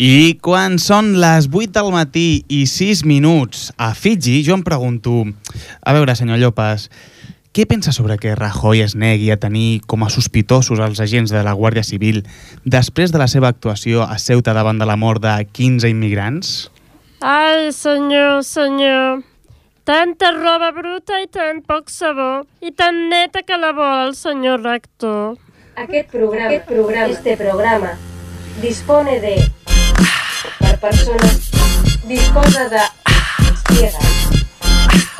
I quan són les 8 del matí i 6 minuts a Fiji, jo em pregunto, a veure, senyor Llopas, què pensa sobre que Rajoy es negui a tenir com a sospitosos els agents de la Guàrdia Civil després de la seva actuació a Ceuta davant de la mort de 15 immigrants? Ai, senyor, senyor. Tanta roba bruta i tan poc sabó i tan neta que la vol el senyor rector. Aquest programa, aquest programa, este programa, dispone de... Per persona, disposa de... Ciega.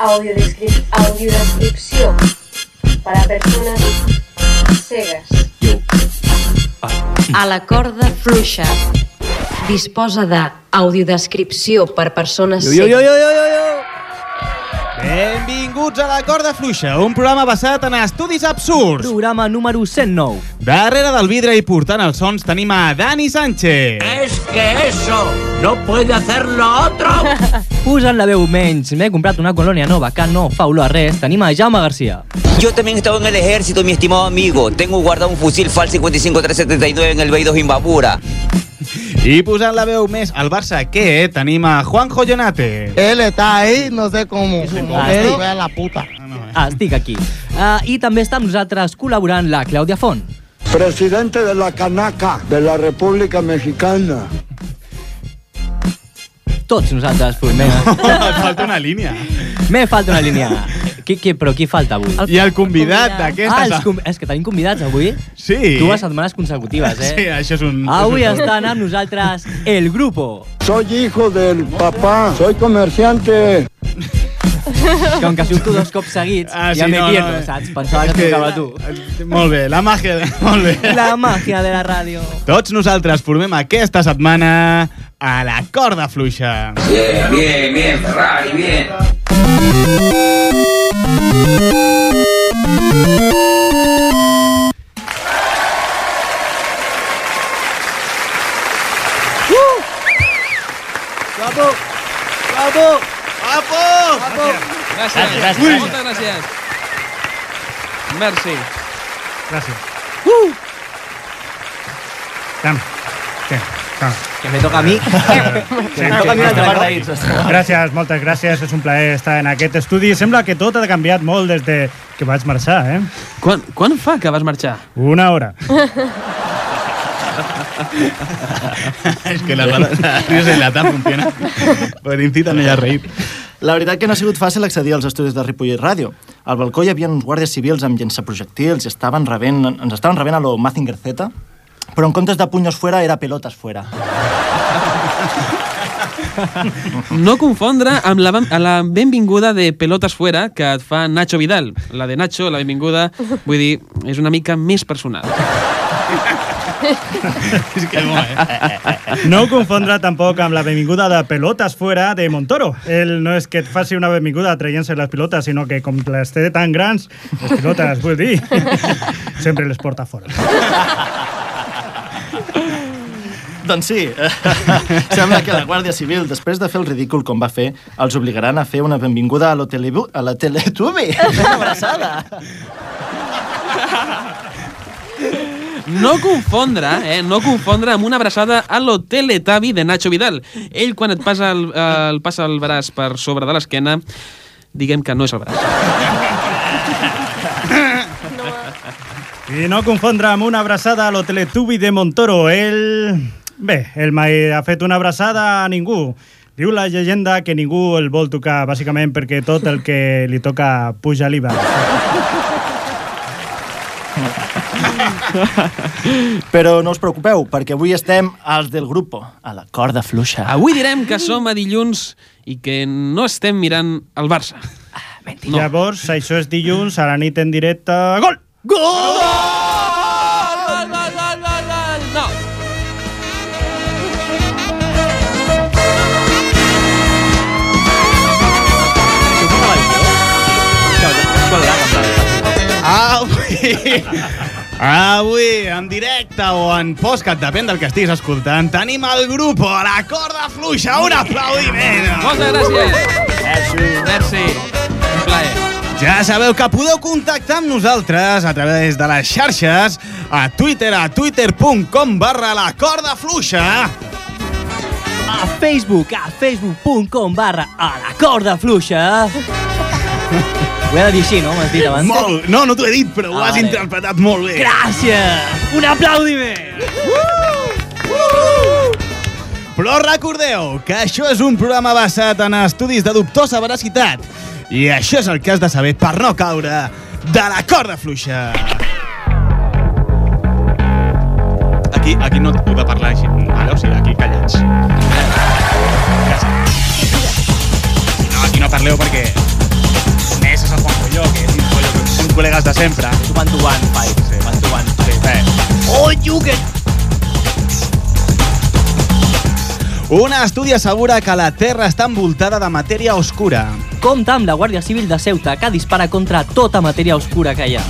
Audiodescrip, audiodescripció per a persones cegues. A la corda fluixa. Disposa de audiodescripció per persones Jo, jo, jo, jo, jo, jo, jo. Benvinguts a la Corda Fluixa, un programa basat en estudis absurds. Programa número 109. Darrere del vidre i portant els sons tenim a Dani Sánchez. Es que eso no puede hacer lo otro. Posant la veu menys, m'he comprat una colònia nova que no fa olor a res. Tenim a Jaume Garcia. Yo también estaba en el ejército, mi estimado amigo. Tengo guardado un fusil FAL 55379 en el Beido Zimbabura. I posant la veu més al Barça que tenim a Juanjo Jonate. Él está ahí, no sé cómo. Es un No monstruo. sé, vea la puta. Ah, estic aquí. Uh, I també està amb nosaltres col·laborant la Clàudia Font. presidente de la Canaca de la República Mexicana. Tots nosaltres formem. Et falta una línia. Me falta una línia. Qui, qui, però qui falta avui? I el convidat Ah, d'aquesta... els com... és que tenim convidats avui. Sí. Dues setmanes consecutives, eh? Sí, això és un... Avui és un... estan amb nosaltres el grupo. Soy hijo del papá, soy comerciante. Que com que surto dos cops seguits, Ah, ja me pierdo, saps? Pensava És que tocava tu. eh, Molt bé, la màgia... de- Molt bé. La màgia de la ràdio. Tots nosaltres formem aquesta setmana a la corda fluixa. Bien, bien, bien, Ferrari, bien. Bravo! Bravo! Apo! Gràcies, Gràcies. gràcies. moltes gràcies. Merci. Gràcies. Uh! Cam. Què? Cam. Que me toca a mi. me toca a mi l'altre cop. Gràcies, moltes gràcies. És un plaer estar en aquest estudi. Sembla que tot ha canviat molt des de que vaig marxar, eh? Quan, quan fa que vas marxar? Una hora. es que la palabra ríos en latín funciona. Pues incitan ella a reír. La veritat que no ha sigut fàcil accedir als estudis de Ripollet Ràdio. Al balcó hi havia uns guàrdies civils amb llençaprojectils i estaven rebent, ens estaven rebent a lo Mazinger Z, però en comptes de punyos fuera era pelotas fuera. No confondre amb la, ben- a la benvinguda de Pelotes Fuera que et fa Nacho Vidal. La de Nacho, la benvinguda, vull dir, és una mica més personal. Es que no, eh? No ho confondre tampoc amb la benvinguda de pelotas fuera de Montoro. Ell no és que et faci una benvinguda traient-se les pilotes, sinó que com les té tan grans, les pilotes, vull dir, sempre les porta fora. doncs sí, sembla que la Guàrdia Civil, després de fer el ridícul com va fer, els obligaran a fer una benvinguda a, lo telebu- a la Teletubi. Una abraçada. No confondre, eh? No confondre amb una abraçada a lo teletavi de Nacho Vidal. Ell, quan et passa el, eh, el, passa el braç per sobre de l'esquena, diguem que no és el braç. I no confondre amb una abraçada a lo Teletubi de Montoro. Ell... Bé, ell mai ha fet una abraçada a ningú. Diu la llegenda que ningú el vol tocar, bàsicament perquè tot el que li toca puja l'IVA. Però no us preocupeu, perquè avui estem als del grupo, a la corda fluixa. Avui direm que som a dilluns i que no estem mirant el Barça. No. Llavors, això és dilluns, a la nit en directe... Gol! Gol, gol, gol, gol, gol! No! Avui... Avui, en directe o en podcast, depèn del que estiguis escoltant, tenim el grup a la corda fluixa. Un aplaudiment! Moltes gràcies! Merci! Un plaer. Ja sabeu que podeu contactar amb nosaltres a través de les xarxes, a Twitter, a twitter.com barra la corda fluixa, Facebook, a facebook.com barra a la corda fluixa. Ho he de dir així, no? M'has dit abans. Molt. No, no t'ho he dit, però ho Ah, has vale. interpretat molt bé. Gràcies! Un aplaudiment! Però recordeu que això és un programa basat en estudis de dubtosa veracitat i això és el que has de saber per no caure de la corda fluixa. Aquí, aquí no heu de parlar així. Vale? O sigui, aquí callats. No, aquí no parleu perquè més és el Juan Colló, que és un colló que són col·legues de sempre. One to one fight. Sí. One to one fight. Sí. Oh, you get... Un estudi assegura que la Terra està envoltada de matèria oscura. Compte amb la Guàrdia Civil de Ceuta, que dispara contra tota matèria oscura que hi ha.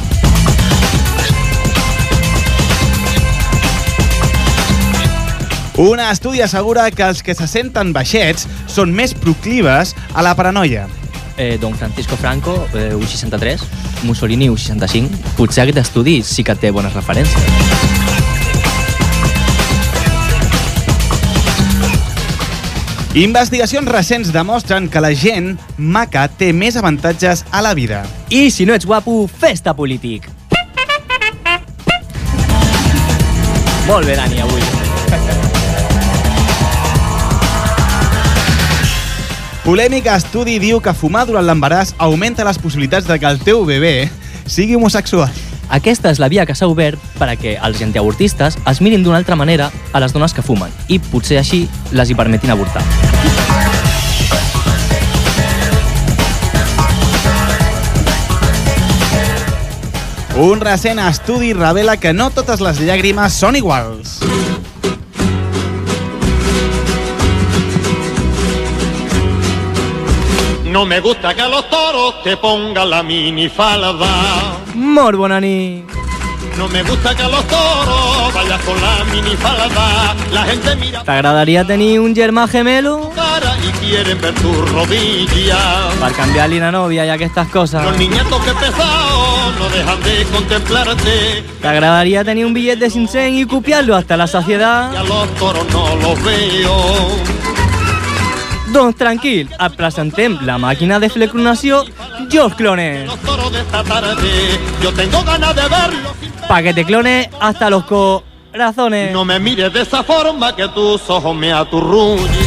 Un estudi assegura que els que se senten baixets són més proclives a la paranoia. Eh, don Francisco Franco, eh, 1,63, Mussolini, 1,65. Potser aquest estudi sí que té bones referències. Investigacions recents demostren que la gent maca té més avantatges a la vida. I si no ets guapo, festa polític. Molt bé, Dani, avui. Polèmic estudi diu que fumar durant l'embaràs augmenta les possibilitats de que el teu bebè sigui homosexual. Aquesta és la via que s'ha obert per a que els antiavortistes es mirin d'una altra manera a les dones que fumen i potser així les hi permetin avortar. Un recent estudi revela que no totes les llàgrimes són iguals. No me gusta que a los toros te pongan la minifalda. Molt bona nit. No me gusta que a los toros vayas con la minifalda. La gente mira T'agradaria tenir un germà gemelo? cara y quieren ver tus rodillas. Per canviar-li la nòvia i aquestes coses. Los niñatos que pesados no dejan de contemplarte. T'agradaria tenir un bitllet de 500 i copiar-lo hasta la Y saciedad? a los toros no los veo. Doncs tranquil, et presentem la màquina de flecronació George Clones. Toro de esta tarde, yo tengo ganas de verlo. Pa que te clones hasta los corazones. No me mires de esa forma que tus ojos me aturrullan.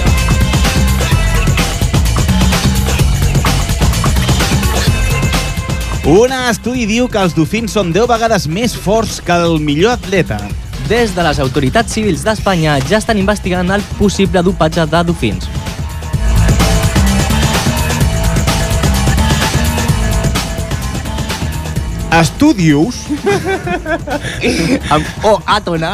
Un estudi diu que els dofins són 10 vegades més forts que el millor atleta. Des de les autoritats civils d'Espanya ja estan investigant el possible dopatge de dofins. Estudius Amb O àtona.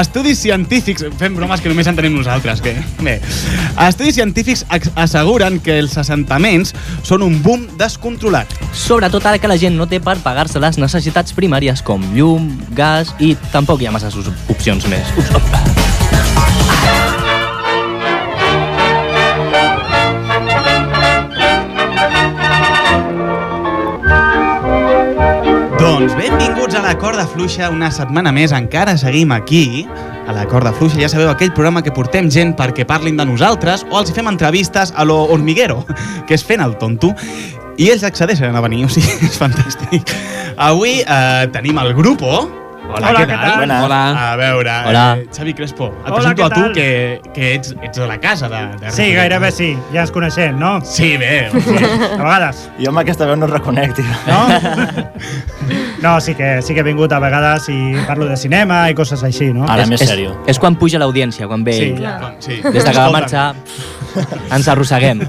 Estudis científics... Fem bromes que només en tenim nosaltres, que... Bé. Estudis científics ex- asseguren que els assentaments són un boom descontrolat. Sobretot ara que la gent no té per pagar-se les necessitats primàries com llum, gas i tampoc hi ha masses us- opcions més. Ups, op. Doncs benvinguts a la Corda Fluixa una setmana més. Encara seguim aquí, a la Corda Fluixa. Ja sabeu, aquell programa que portem gent perquè parlin de nosaltres o els hi fem entrevistes a lo hormiguero, que és fent el tonto. I ells accedeixen a venir, o sigui, és fantàstic. Avui eh, tenim el grupo. Hola, Hola, què què tal? tal? Buenas. A veure, Hola. Eh, Xavi Crespo, et Hola, presento què a tu, tal? que, que ets, ets de la casa de, de Sí, Ripollet, gairebé no? sí. Ja ens coneixem, no? Sí, bé. A vegades. Jo amb aquesta veu no et reconec, tio. Eh, No, sí que, sí que he vingut a vegades i parlo de cinema i coses així, no? És- és, És quan puja l'audiència, quan ve Sí, ell. clar. Sí. Des de que Escolta'm. va marxar, ens arrosseguem.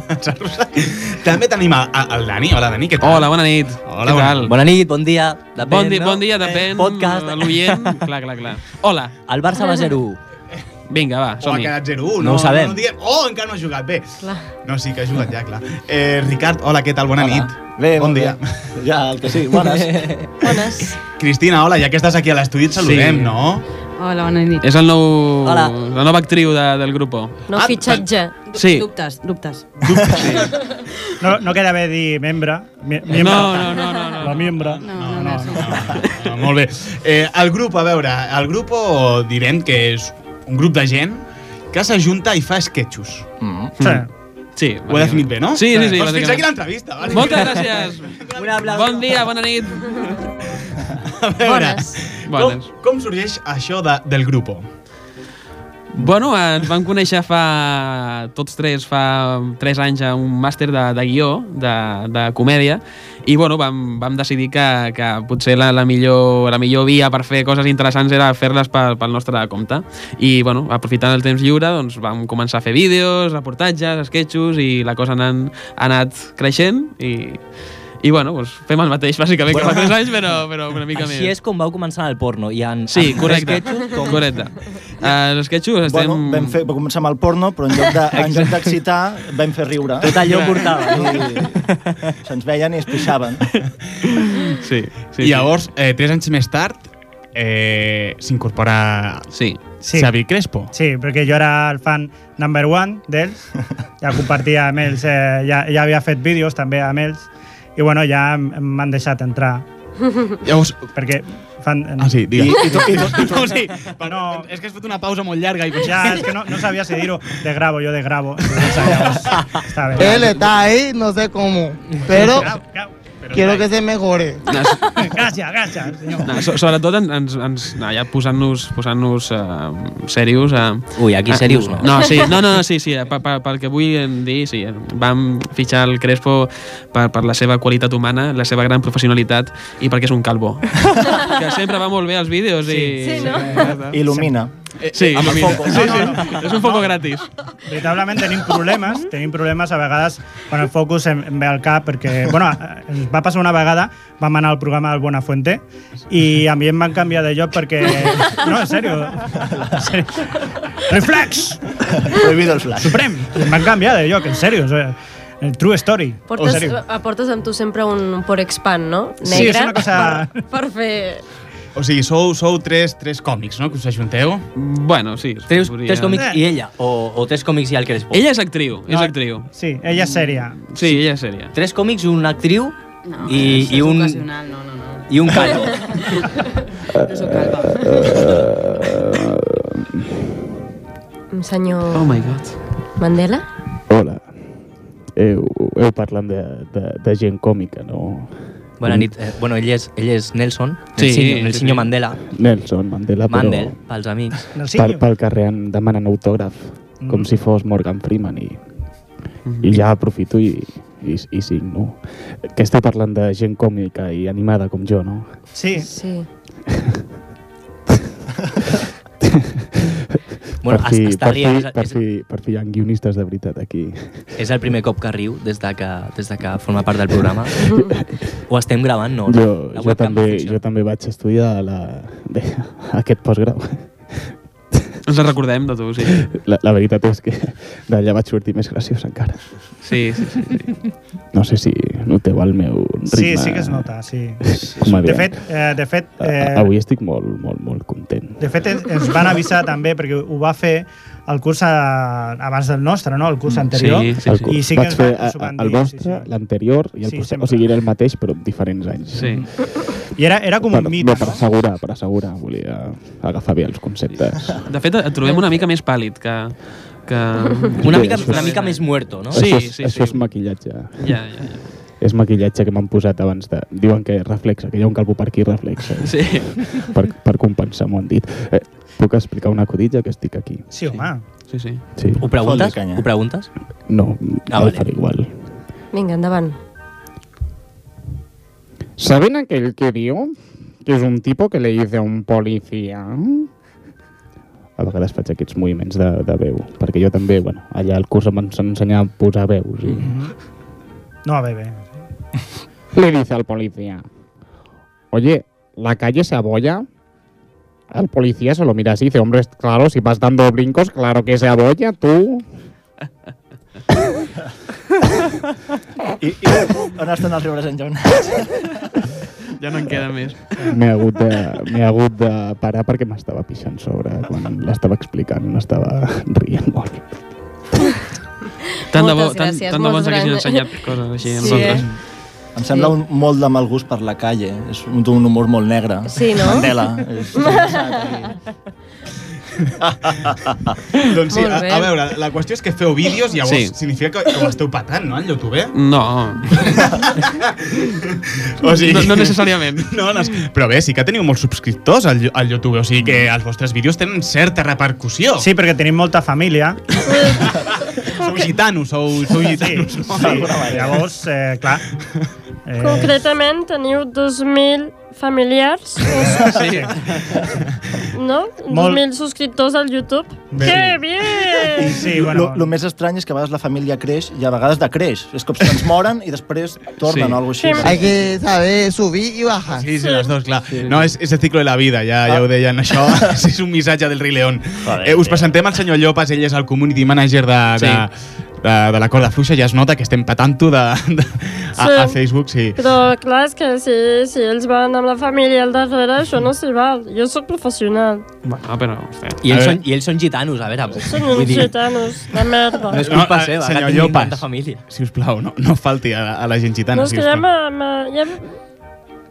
També tenim a, a, el Dani. Hola, Dani, què tal? Hola, bona nit. Hola, Què bona tal? Bona nit, bon dia, depèn, Bon, di no? bon dia, depèn. eh, Podcast. de L'oient, clar, clar, clar. Hola. El Barça va 0-1. Vinga, va, O ha som-hi. quedat 0-1, no, No ho sabem. No diem, oh, encara no ha jugat, bé. Clar. No, sí que ha jugat ja, clar. Eh, Ricard, hola, què tal? Bona hola. nit. Bé, bon dia. Bé. Ja, el que sí, bones. Bones. Cristina, hola, ja que estàs aquí a l'estudi et saludem, Sí. no? Hola, bona nit. És el nou... Hola. La nova actriu de, del grup. No ah, fitxatge. Sí. Dubtes, dubtes. No, no queda bé dir membre. Mi, membre. No, no, no, no, no. La membre. No, no, no. Ah, molt bé. Eh, el grup, a veure, el grup direm que és un grup de gent que s'ajunta i fa sketchos. Mm. Sí, Ho he definit bé, no? Sí, sí, sí. Doncs fins bàsicament. aquí l'entrevista. Vale? Moltes gràcies. Bon dia, bona nit. A veure, Bones. Com, com sorgeix això de, del grupo? Bueno, eh, ens vam conèixer fa, tots tres, fa tres anys a un màster de, de guió, de, de comèdia, i bueno, vam, vam decidir que, que potser la, la, millor, la millor via per fer coses interessants era fer-les pel, pel nostre compte. I bueno, aprofitant el temps lliure, doncs vam començar a fer vídeos, reportatges, sketchos, i la cosa anant, ha anat creixent, i, i bueno, doncs fem el mateix, bàsicament, bueno. que fa tres anys, però, però una mica Així més. és com vau començar el porno. I en, Sí, en correcte. sketchos com... Correcte. Uh, els sketchos estem... Bueno, vam, fer, vam començar amb el porno, però en lloc de- en lloc d'excitar vam fer riure. Tot allò portava, I Se'ns veien i es pixaven. Sí, sí, I llavors, eh, tres anys més tard, eh, s'incorpora sí. Sí. Xavi Crespo. Sí, perquè jo era el fan number one d'ells, ja compartia amb ells, eh, ja, ja havia fet vídeos també amb ells, i bueno, ja m- m'han deixat entrar. Llavors... Perquè fan... Ah, sí, digues. I- i tu- i tu- no, no, sí, no, és que has fet una pausa molt llarga. I... Ja, és que no, no sabia si dir-ho, desgravo, jo desgravo. entonces, llavors, Està bé. Él está ahí, no sé cómo, pero quiero que se mejore. Gràcies, gràcies, senyor. No, so, sobretot en- ens, ens, no, ja posant-nos posant uh, serios... Uh, Ui, aquí serios no. No, sí, no, no, no, sí, sí, pel, pel, pel que vull en dir, sí, eh, vam fitxar el Crespo per, per la seva qualitat humana, la seva gran professionalitat i perquè és un calvo. que sempre va molt bé als vídeos sí. i... Sí, no? Il·lumina. eh, Sí, Amb el il·lumina. foco. Sí, sí. És un poco gratis. Veritablement tenim problemes, tenim problemes a vegades quan el focus em, em ve al cap perquè, bueno, eh, ens va passar una vegada, vam anar al programa del Buenafuente i a mi em van canviar de lloc perquè... No, en sèrio. En sèrio. Reflex! Prohibido el flash. Suprem! Em van canviar de lloc, en sèrio. o sigui, El true story. en Portes, sèrio. aportes amb tu sempre un Porex pan, no? Negre, Sí, és una cosa- per, per fer... O sigui, sou, sou tres, tres còmics, no?, que us ajunteu. Bueno, sí. Tres, podria- tres còmics i ella, o, o tres còmics i el Crespo. Ella és actriu, és actriu. Sí, ella és sèria. Sí, ella és sèria. Tres còmics i una actriu no, i, i un... I un calvo. Senyor... Oh my god. Mandela? Hola. Eu, eu parlant de, de, de gent còmica, no? Bona nit. Eh, bueno, ell és, ell és Nelson, Sí, Nelsinho, sí, Nelsinho sí. Mandela. Nelson Mandela, Ah, però... Mandel, pels amics. Pel, pel carrer em demanen autògraf, mm. com si fos Morgan Freeman, i, mm. i ja aprofito i, i, i signo. Que està parlant de gent còmica i animada com jo, no? Sí. Sí. Bueno, per es- fi, està per rient, és Fi, el- per, és- fi, per fi hi ha guionistes de veritat aquí. És el primer cop que riu des de que, des de que forma part del programa. Ho estem gravant, no? jo, La jo, webcam. també, jo també vaig estudiar a la, bé, a aquest postgrau. Ens en recordem de tu, sí. La, la veritat és que d'allà vaig sortir més graciós encara. Sí, sí, sí. sí. No sé si noteu el meu Sí, ritme. sí que es nota, sí. comediant. De fet, eh, de fet, A- eh, a- Avui estic molt, molt, molt content. De fet, ens- ens van avisar també, perquè ho va fer el curs a, abans del nostre, no? el curs Mm. anterior. El cu- I sí que vaig ens fer van, a- ens ho van el dir. vostre, l'anterior i el Sí, sí, sempre. o sigui, era el mateix, però amb diferents anys. Sí. I era, era com Per, un mit. no, per assegurar, per assegurar, volia agafar bé els conceptes. De fet, et trobem una mica més pàl·lid que... que... Una mica- una mica més muerto, no? Sí, això és, sí, sí. això és maquillatge. Ja, ja, ja. És maquillatge que m'han posat abans de... Diuen que reflexa, que hi ha un calvo per aquí reflexa. Sí. Per, per compensar, m'ho han dit. Eh, puc explicar una acudilla que estic aquí? Sí, home. Sí, sí. Sí. Ho preguntes? Ho preguntes? No, ah, vale. faré igual. Vinga, endavant. ¿Saben aquel que vio? Que es un tipo que le dice a un policía. A vegades faig aquests moviments de, de veu, perquè jo també, bueno, allà al curs em van ensenyar a posar veus. I... No, bé, bé. Le dice al policía. Oye, ¿la calle se abolla? Al policía se lo mira así, dice, hombre, claro, si vas dando brincos, claro que se abolla, tú. I, i on estan els riures en Joan? Ja no en queda més. M'he hagut, de- m'he hagut de parar perquè m'estava pixant sobre quan l'estava explicant, m'estava rient molt. Tant de bo, Moltes tant, gràcies, tant de bo ens moltes haguessin gràcies. ensenyat coses així Sí, a eh? nosaltres. Em sembla un, molt de mal gust per la calle. És un, un humor molt negre. Sí, no? Mandela. És, doncs sí, Molt a, bé. a veure, la qüestió és que feu vídeos i llavors Sí. sí. significa que, que ho esteu patant, no, en YouTube? No. No- no necessàriament. No, no, però bé, sí que teniu molts subscriptors al, al YouTube, o sigui que els vostres vídeos tenen certa repercussió. Sí, perquè tenim molta família. Sou gitanos, sou, sou gitanos. Sí, no? Sí, llavors, eh, clar... Eh, Concretament teniu 2.000 familiars, eh, sí. no? Molt. 2.000 subscriptors al YouTube. Bé. Que bien! Sí, bueno. Lo, lo més estrany és que a vegades la família creix i a vegades decreix. És com si ens moren i després tornen Sí. o alguna cosa així. Hay que saber subir y bajar. Ah, Sí, sí, les dos, clar. No, és, és el cicle de la vida, ja, ja ho deien, això és un missatge del Rei León. Eh, us presentem al senyor Llopas, ell és el community manager de, de, de, de la corda fluixa, ja es nota que estem patant-ho de, de, a, a Sí. Facebook, sí. Però clar, és que si, si ells van amb la família al darrere, això no s'hi val. Jo sóc professional, Bueno, però... I ells, A són, I ells són gitanos, a veure. són uns gitanos de merda. No és culpa eh, seva, senyor que tinguin Llopas. tanta família. Si us plau, no, no falti a, a la gent gitana. No, és que ja sisplau. m'ha... m'ha-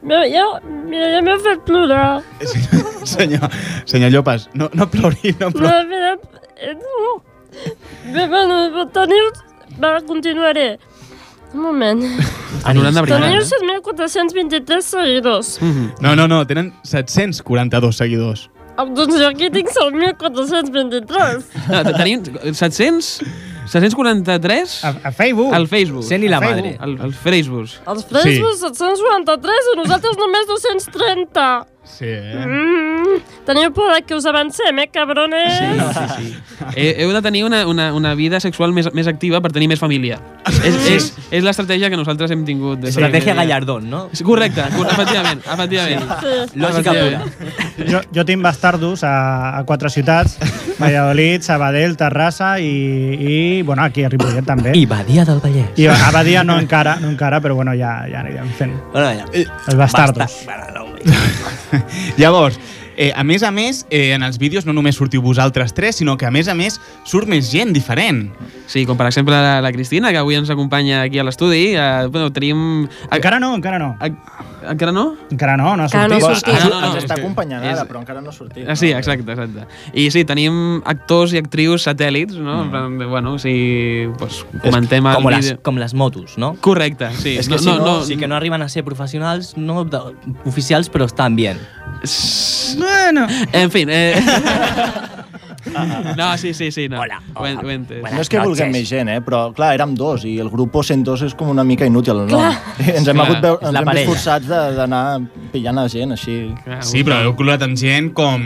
Ja, ja, ja, ja, ja m'ha fet plorar. senyor, senyor Llopas, no, no plori, no plori. No, mira, eh, no. Bé, bueno, teniu... Va, continuaré. Un moment. Anul·lant de Teniu 7.423 seguidors. No, no, no, tenen 742 seguidors. Ah, Doncs jo aquí tinc 7.423. No, Ah, te- tenim 700... 743... A, a Facebook. Al Facebook. Cent i la madre. Al, al Facebook. Els Fresbos, 793 i nosaltres només 230. Sí, eh? Mm, teniu por de que us avancem, eh, cabrones? Sí, sí, sí. He- Eh, Heu de tenir una, una, una vida sexual més, més activa per tenir més família. És, és, és l'estratègia que nosaltres hem tingut. Des de Estratègia la primera. Gallardón, no? Sí, Correcte, cor- efectivament, efectivament. Sí. Lògica pura. jo, jo tinc bastardos a, a quatre ciutats, Valladolid, Sabadell, Terrassa i, i bueno, aquí a Ripollet també. I Badia del Vallès. I a Badia no encara, no encara, però bueno, ja, ja anirem fent. Bueno, Eh, ja. Els bastardos. Llavors, eh, a més a més, eh, en els vídeos no només sortiu vosaltres tres, sinó que a més a més surt més gent diferent. Sí, com per exemple la, la Cristina, que avui ens acompanya aquí a l'estudi. Eh, bueno, tenim... Encara no, encara no. Encara no? Encara no, no ha sortit. Ah, no, no, ens és està que- acompanyant és- ara, però encara no ha sortit. Ah, sí, exacte, exacte. I sí, tenim actors i actrius satèl·lits, no? Mm. De, bueno, si pues, comentem el com vídeo... les, com les motos, no? Correcte, sí. És que No- si, no- no, no- sí que no arriben a ser professionals, no de, oficials, però estan bien. Bueno. En fi, eh... no, sí, sí, sí, no. Hola, hola. Ho, he- ho he entès. No és que vulguem més gent, eh? però clar, érem dos i el grup 102 és com una mica inútil el nom. Clar. I ens hem, Clar, hagut veu, és ens la hem parella. vist forçats de- d'anar pillant a gent així. Ah, Sí, però heu col·locat amb gent com...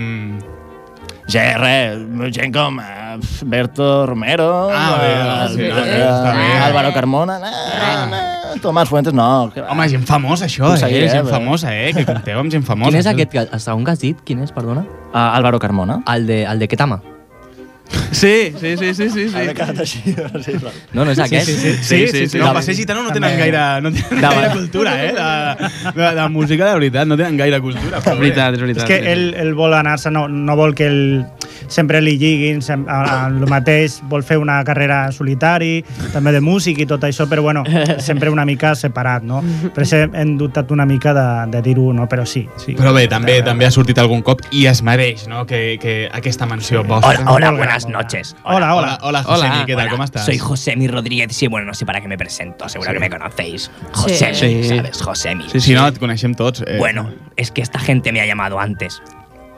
Ja, res, gent com eh, Berto Romero, Ah, bé, ah, sí, eh, ah, bé, eh, està bé. Álvaro Carmona, eh, eh, Tomás Fuentes, no. Home, gent famosa, això, eh? Gent famosa, eh? Que compteu amb gent famosa. Quin és aquest, que, el segon que has dit? Quin és, perdona? Uh, Álvaro Carmona. El de, el de Ketama. Sí, sí, sí, sí, Ah, sí. sí. Ara quedat així. sí, clar. No, no és aquest? Sí, sí, sí. sí, sí, sí, No, per ser gitano no tenen gaire, no tenen Davant. gaire cultura, eh? De, de, de música, de veritat, no tenen gaire cultura. Però Veritat, és És que ell, ell vol anar-se, no, no vol que el, sempre li lliguin sem, a, a, el mateix, vol fer una carrera en solitari, també de músic i tot això, però bueno, sempre una mica separat, no? Per això hem dubtat una mica de, de dir-ho, no? Però sí, sí. Però bé, també també ha sortit algun cop i es mereix, no?, que, que aquesta menció vostra. Hola, buenas noches. Hola, hola. Hola, Josemi, ¿qué tal? ¿Cómo estás? Soy Josemi Rodríguez. Sí, bueno, no sé para qué me presento. Seguro que me conocéis. Josemi, ¿sabes? Josemi. Sí, sí, no, et coneixem tots. Eh. Bueno, es que esta gente me ha llamado antes.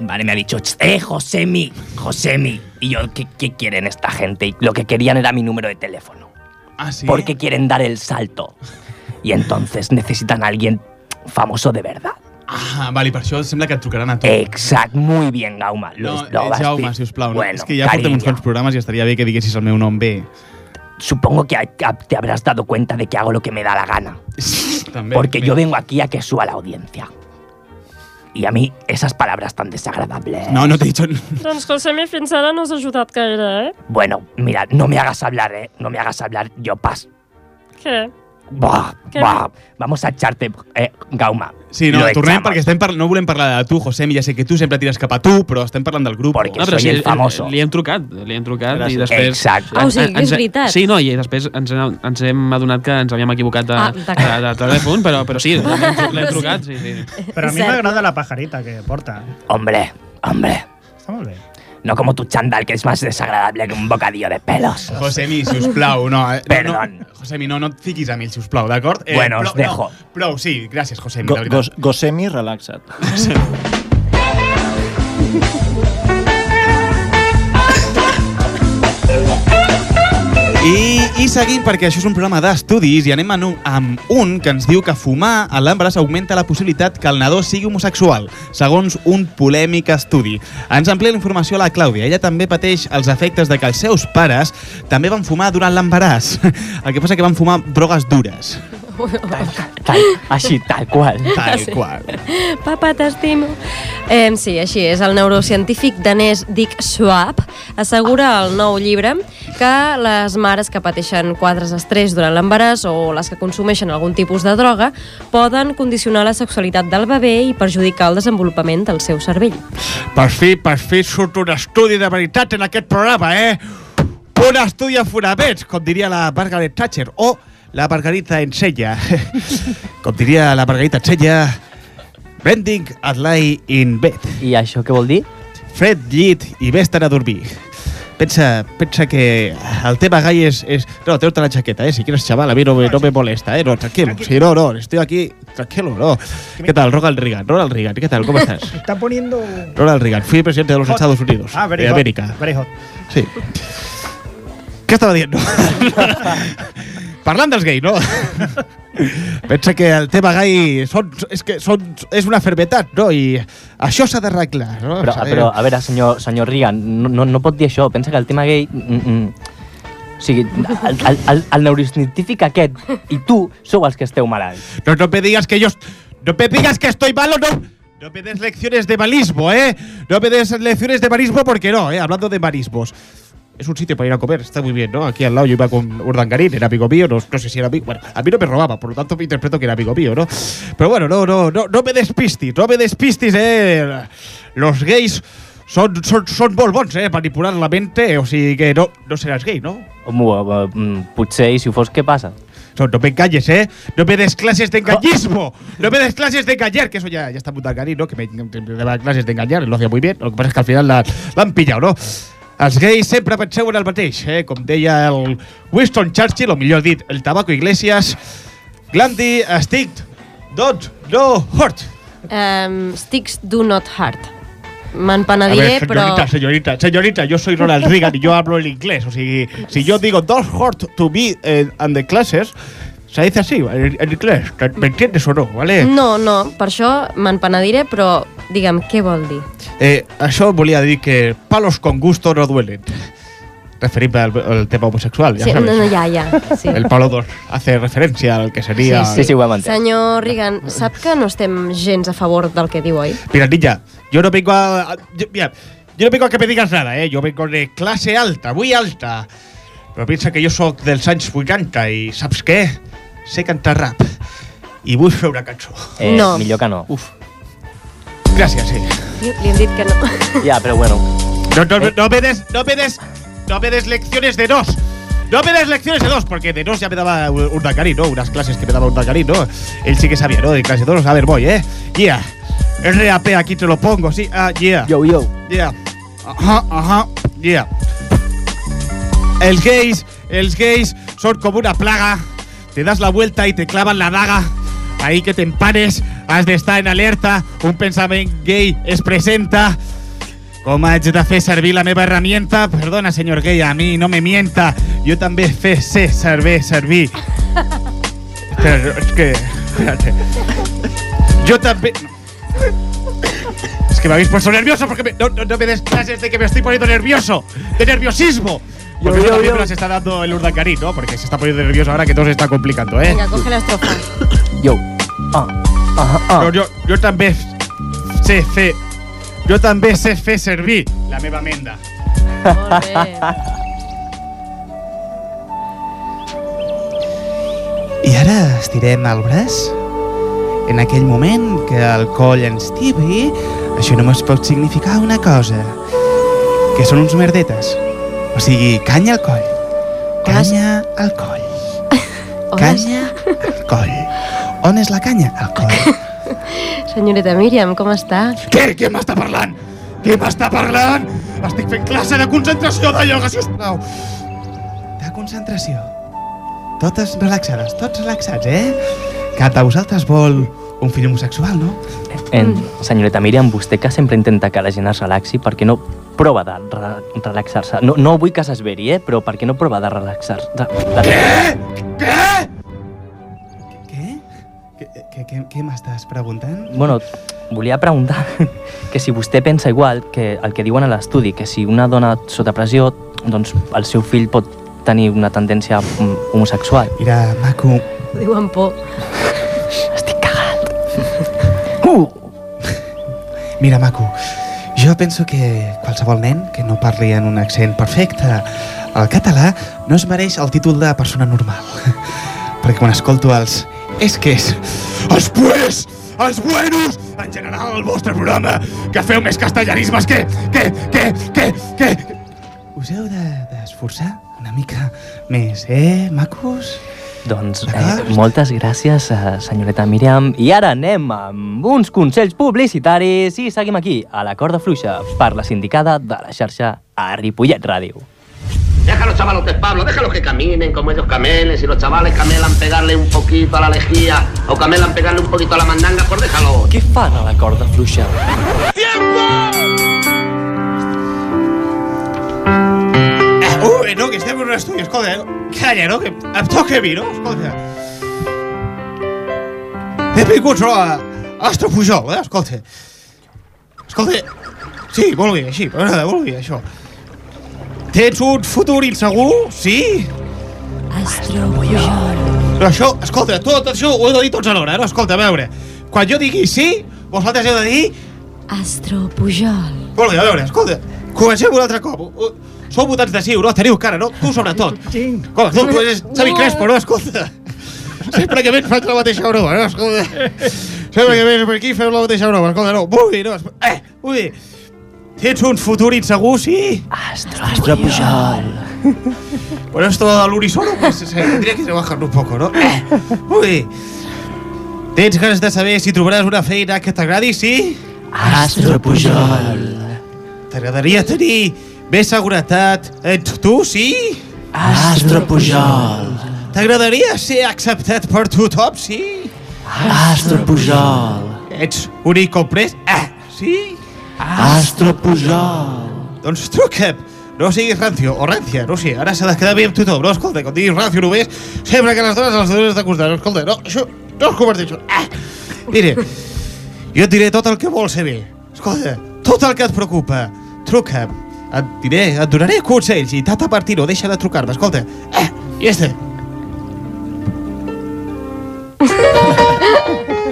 Vale, me ha dicho, "Ch, eh, Josemi, Josemi. Y yo, ¿qué, qué quieren esta gente? Y lo que querían era mi número de teléfono. Ah, sí. Porque quieren dar el salto. Y entonces necesitan a alguien famoso de verdad. Ah, vale, i per això sembla que et trucaran a tu. Exacto, muy bien, Gauma. Lo No, lo eh, vas Jaume, bien. sisplau, no? Bueno, és que ja portem uns cariño. quants programes i estaria bé que diguessis el meu nom bé. Supongo que a- a- te habrás dado cuenta de que hago lo que me da la gana. También, Porque yo vengo aquí a que suba la audiencia. Y a mí esas palabras tan desagradables. No, no te he dicho. Doncs Josemi, fins ara no us ha ajudat gaire, eh? Bueno, mira, no me hagas hablar, ¿eh? No me hagas hablar, yo paso. Què? Buah, ¿Qué? buah. Vamos a echarte, eh, Gauma. Sí, no, Lo tornem echamos. perquè estem par no volem parlar de tu, Josemi, ja sé que tu sempre tires cap a tu, però estem parlant del grup. Perquè No, però sí, Li, li hem trucat, li hem trucat Gràcies. i després... Exacte. en- Ah, o sigui, en- que és ens- veritat. Sí, no, i després ens, hem- ens hem adonat que ens havíem equivocat de, Ah, de, d'acord. de, telèfon, però, però sí, l'hem tru- l'hem trucat, sí, sí. Però a mi m'agrada la pajarita que porta. Hombre, hombre. Està molt bé. No como tu chandal, que es más desagradable que un bocadillo de pelos. Josemi, sisplau, no. eh, no, no Perdón. Josemi, no, no et fiquis amb mi, sisplau, d'acord? Eh, Bueno, us prou- dejo. No, prou, sí, gràcies, Josemi, Go, de veritat. gos, gosemi, relaxa't. I, I seguim, perquè això és un programa d'estudis, i anem amb un, amb un que ens diu que fumar a l'embaràs augmenta la possibilitat que el nadó sigui homosexual, segons un polèmic estudi. Ens amplia la informació la Clàudia. Ella també pateix els efectes de que els seus pares també van fumar durant l'embaràs. El que passa que van fumar drogues dures. Tal, així, tal qual. Tal Sí. qual. Papa, t'estimo. Eh, sí, així és. El neurocientífic danès Dick Schwab assegura al nou llibre que les mares que pateixen quadres d'estrès durant l'embaràs o les que consumeixen algun tipus de droga poden condicionar la sexualitat del bebè i perjudicar el desenvolupament del seu cervell. Per fi, per fi surt un estudi de veritat en aquest programa, eh? Un estudi a fonaments, com diria la Margaret Thatcher, o la Margarita Ensenya. com diria la Margarita Ensenya, Bending at lie in bed. I això què vol dir? Fred llit i vés-te'n a dormir. Pensa, pensa que el tema gai és... és... No, treu-te la jaqueta, eh? Si quieres, chaval, a mi no me, no me molesta, eh? No, tranquilo. Sí, no, no, estoy aquí... Tranquilo, no. ¿Qué tal? Ronald Reagan, Ronald Reagan, ¿qué tal? ¿Cómo estás? Está poniendo. Ronald Reagan, fui presidente de los Hot. Estados Unidos, Ah, very de hot, América. very hot. Sí. Què estava dient? Parlant dels gais, no? Pensa que el tema gai són, és, que són, és una enfermedad, no? I això s'ha d'arreglar, no? eh, Però, S'ha de- però a veure, senyor, senyor Reagan, no, no, no pot dir això. Pensa que el tema gay... Mm, mm, o sigui, el, el, el, el neurocientífic aquest i tu sou els que esteu malalts. No, no me digas que yo... No me digas que estoy malo, no... No me des lecciones de marismo, ¿eh? No me des lecciones de marismo porque no, ¿eh? Hablando de marismos. Es un sitio para ir a comer, está muy bien, ¿no? Aquí al lado yo iba con Urdangarín, era amigo mío, no, no sé si era amigo... Bueno, a mí no me robaba, por lo tanto me interpreto que era amigo mío, ¿no? Pero bueno, no, no, no, no me despistis, no me despistis, ¿eh? Los gays son, son, son molt bons, ¿eh? Manipular la mente, o sigui que no, no seràs gay, ¿no? Home, eh, mm, potser, i si ho fos, què passa? No, no me engañes, ¿eh? No me des clases de engañismo. No me des clases de engañar, que eso ya, ya está muy cari, ¿no? Que me, me daba clases de engañar, lo hacía muy bien. Lo que pasa es que al final la, la han pillado, ¿no? Els gais sempre penseu en el mateix, eh? Com deia el Winston Churchill, o millor dit, el Tabaco Iglesias. Glandi, stick, don't, no, hurt. Um, sticks do not hurt. Me'n A penediré, ver, però... señorita, señorita, señorita, yo soy Ronald Reagan y yo hablo el inglés. O sea, si yo digo don't hurt to be eh, and the classes, se dice así, en, en inglés. ¿Me entiendes o no? ¿Vale? No, no, per això me'n penediré, però digue'm, què vol dir? Eh, això volia dir que palos con gusto no duelen. Referit al, al tema homosexual, ja Sí, sabes. no, no, ja, ja. Sí. El palo 2 hace referència al que seria... Senyor Reagan, sap que no estem gens a favor del que diu, oi? Mira, ninja, yo no vengo a... a- yo- mira, yo no vengo a que me digas nada, ¿eh? Yo vengo de clase alta, muy alta. Pero piensa que yo soy del Sánchez 80 i saps què? Sé cantar rap. I vull fer una cançó. Eh, No. millor que no. Uf. Gràcies, sí. Li, li hem dit que no. Ja, però bueno. No, no, no me des, no me des, no me des lecciones de dos. No me des lecciones de dos, porque de dos ya me daba Urdacari, ¿no? Unas clases que me daba Urdacari, ¿no? Él sí que sabía, ¿no? De clase de dos. A ver, voy, ¿eh? Yeah. RAP, aquí te lo pongo, sí. Ah, yeah. Yo, yo. Yeah. Ajá, ajá. Yeah. Els gays, els gays son como una plaga. Te das la vuelta y te clavan la daga. Ahí que te empanes, has de estar en alerta. Un pensamiento gay es presenta. Com haig de fer servir la meva herramienta? Perdona, senyor gay, a mi no me mienta. Jo també fe, sé, servir, servir. Espera, és que... Espérate. Jo també... Es que me habéis puesto nervioso porque me- no, no- no me des clases de que me estoy poniendo nervioso, de nerviosismo. Porque eso también me las está dando el Urdangarí, ¿no? Porque se está poniendo nervioso ahora que todo se está complicando, ¿eh? Vinga, coge l'estrofa. Yo. Ah, ah, ah. Però jo, jo també f- sé fer... Jo també sé fer servir la meva menda. Molt bé. I ara estirem el braç. En aquell moment que el coll ens tibi, això només pot significar una cosa, que són uns merdetes. O sigui, canya al coll. Canya al coll. Canya al coll. On és la canya? Al coll. Senyoreta Míriam, com està? Què? Qui m'està parlant? Què m'està parlant? Estic fent classe de concentració de ioga, sisplau. De concentració. Totes relaxades, tots relaxats, eh? Cap de vosaltres vol un fill homosexual, no? En, senyoreta Míriam, vostè que sempre intenta que la gent es relaxi, per què no prova de re relaxar-se? No, no vull que s'esveri, eh? Però per què no prova de relaxar-se? Què? Què, què, què, què m'estàs preguntant? Bueno, volia preguntar que si vostè pensa igual que el que diuen a l'estudi, que si una dona sota pressió, doncs el seu fill pot tenir una tendència mm, homosexual. Mira, maco, Ho diu amb por. Estic cagat. Mira, maco, jo penso que qualsevol nen que no parli en un accent perfecte al català no es mereix el títol de persona normal. Perquè quan escolto els és que és... Els pues, els buenos, en general el vostre programa, que feu més castellanismes que... que... que... que... que... Us heu de- d'esforçar de, una mica més, eh, macos? Doncs eh, moltes gràcies, eh, senyoreta Míriam. I ara anem amb uns consells publicitaris i seguim aquí, a la corda fluixa, per la sindicada de la xarxa a Ripollet Ràdio. Déjalos chavalotes, Pablo, déjalos que caminen como ellos camelen. Si los chavales camelan pegarle un poquito a la lejía o camelan pegarle un poquito a la mandanga, pues déjalo. Què fan a la corda fluixa? Eh, ui, no, que estem en un estudi, escolta, eh? calla, no, que em toca a mi, no, escolta. Benvinguts no, a Astro Pujol, eh, escolta. Escolta, sí, molt bé, així, m'agrada, molt bé, això. Tens un futur insegur, sí? Astro Pujol. Però això, escolta, tot això ho heu de dir tots alhora, eh? no? Escolta, a veure, quan jo digui sí, vosaltres heu de dir... Astro Pujol. Molt bé, a veure, escolta, comencem un altre cop. Uh, Sou votants de sí, no? Teniu cara, no? Tu sobretot. Sí. Com, tu, tu és Xavi Crespo, no? Escolta. Sempre que vens faig la mateixa broma, no? Escolta. Sempre que vens per aquí feu la mateixa broma, escolta, no. Molt bé, no? es- Eh, molt bé. Tens un futur insegur, sí? Astro, Astro Pujol. Bueno, esto del unisono, pues se tendría que trabajarlo un poco, ¿no? Eh, Molt bé. Tens ganes de saber si trobaràs una feina que t'agradi, sí? Astro Pujol. T'agradaria tenir més seguretat en tu, sí? Astro Pujol. T'agradaria ser acceptat per tothom, sí? Astro Pujol. Ets un incomprès? Ah, sí? Astro Pujol. Doncs truca'm. No siguis rancio o rancia, no sé, ara s'ha de quedar bé amb tothom, no? Escolta, quan diguis rancio només, sembla que les dones els dones de costat. Escolta, no, això no es converteix. en- Ah! Mira, jo et diré tot el que vols saber. Escolta, tot el que et preocupa, truca'm. Et diré, et donaré consells i tata Martino, deixa de trucar-me, escolta. Ah, ja està.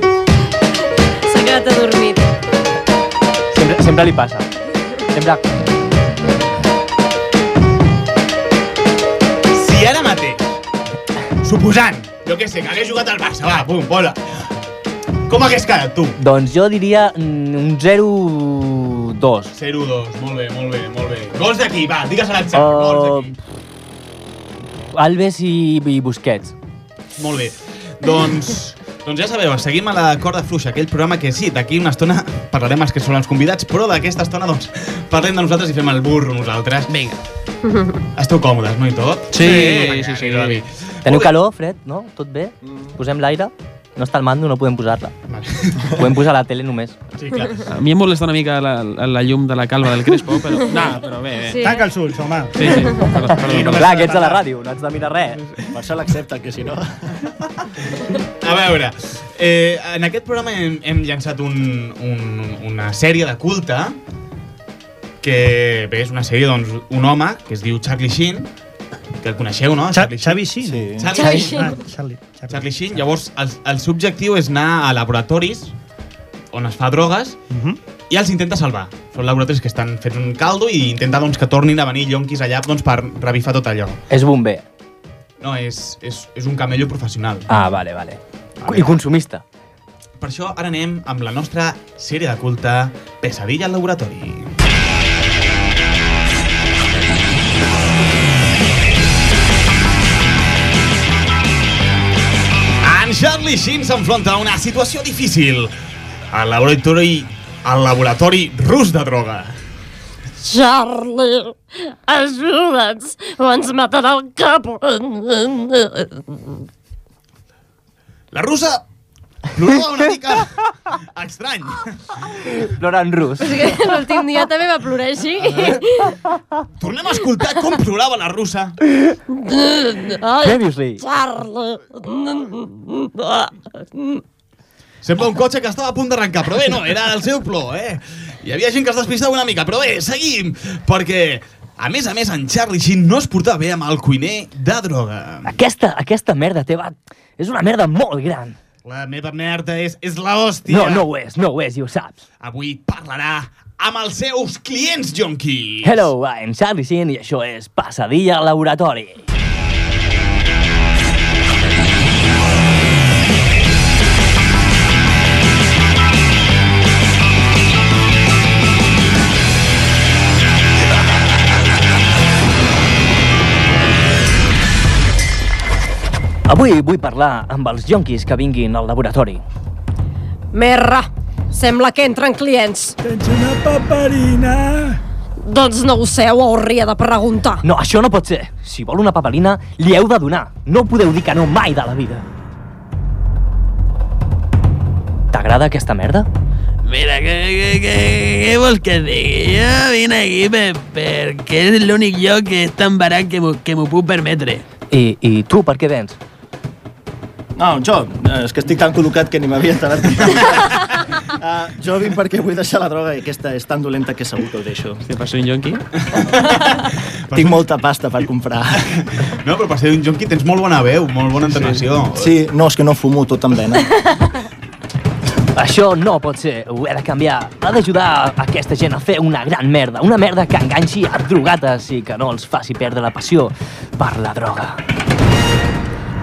S'ha quedat adormit. Sempre, sempre li passa. Sempre... Si ara mateix, suposant, jo què sé, que hagués jugat al Barça, va, pum, bola. Com hagués quedat, tu? Doncs jo diria mm, un 0-2. 0-2, molt bé, molt bé, molt bé. Gols d'aquí, va, digues a l'Atxa, uh... gols d'aquí. Uh, Alves i, i Busquets. Molt bé. Doncs, doncs ja sabeu, seguim a la corda fluixa, aquell programa que sí, d'aquí una estona parlarem els que són els convidats, però d'aquesta estona doncs parlem de nosaltres i fem el burro nosaltres. Vinga. Esteu còmodes, no i tot? Sí, sí, sí. sí. Teniu calor, fred, no? Tot bé? Posem l'aire? No està el mando, no podem posar-la. Podem posar la tele només. Sí, clar. A mi em molesta una mica la, la, la llum de la calva del Crespo, però... No, però bé, Eh, bé. Sí. Tanca els ulls, home. Sí, sí. Perdó, I perdó. només Clar, que ets a la ràdio, no haig de mirar res. Per això l'accepta, que si no... A veure, eh, en aquest programa hem, hem llançat un, un, una sèrie de culte que bé, és una sèrie doncs, un home que es diu Charlie Sheen que el coneixeu, no? Charlie Sheen. Xavi Sheen. Sí. Charlie Charlie Sheen. Sheen. Charlie Sheen. Llavors, el, el seu objectiu és anar a laboratoris on es fa drogues i els intenta salvar. Són laboratoris que estan fets un caldo i intenta doncs, que tornin a venir llonquis allà doncs, per revifar tot allò. És bomber. No, és, és, és un camello professional. Ah, vale, vale. I consumista. Per això ara anem amb la nostra sèrie de culte Pesadilla al laboratori. En Charlie Sheen s'enfronta a una situació difícil. Al laboratori, al laboratori rus de droga. Charlie, ajuda'ns o ens matarà el capo. La russa plorava una mica estrany. Plora en rus. És que l'últim dia també va plorar així. Tornem a escoltar com plorava la russa. Ah. Què dius-li? Charlie. Sembla un cotxe que estava a punt d'arrencar, però bé, no, era el seu plor, eh? Hi havia gent que es despistava una mica, però bé, seguim, perquè... A més a més, en Charlie Sheen no es portava bé amb el cuiner de droga. Aquesta, aquesta merda teva és una merda molt gran. La meva merda és, és la hòstia. No, no ho és, no ho és, i ho saps. Avui parlarà amb els seus clients, Jonky. Hello, I'm Charlie Sheen i això és Passadilla al Laboratori. Avui vull parlar amb els jonquis que vinguin al laboratori. Merra, sembla que entren clients. Tens una paperina? Doncs no ho sé, ho hauria de preguntar. No, això no pot ser. Si vol una papelina, li heu de donar. No podeu dir que no mai de la vida. T'agrada aquesta merda? Mira, què, què, què, què vols que et digui? Jo vinc aquí per, perquè és l'únic lloc que és tan barat que m'ho que m'ho puc permetre. I, I tu per què vens? No, jo, eh, és que estic tan col·locat que ni m'havia enterat. uh, jo vinc perquè vull deixar la droga i aquesta és tan dolenta que segur que ho deixo. Què passa, un jonqui? Tinc molta pasta per comprar. No, però per ser un jonqui tens molt bona veu, molt bona entonació. Sí, no, és que no fumo tot amb vena. Això no pot ser, ho he de canviar. Ha d'ajudar aquesta gent a fer una gran merda, una merda que enganxi a drogates i que no els faci perdre la passió per la droga.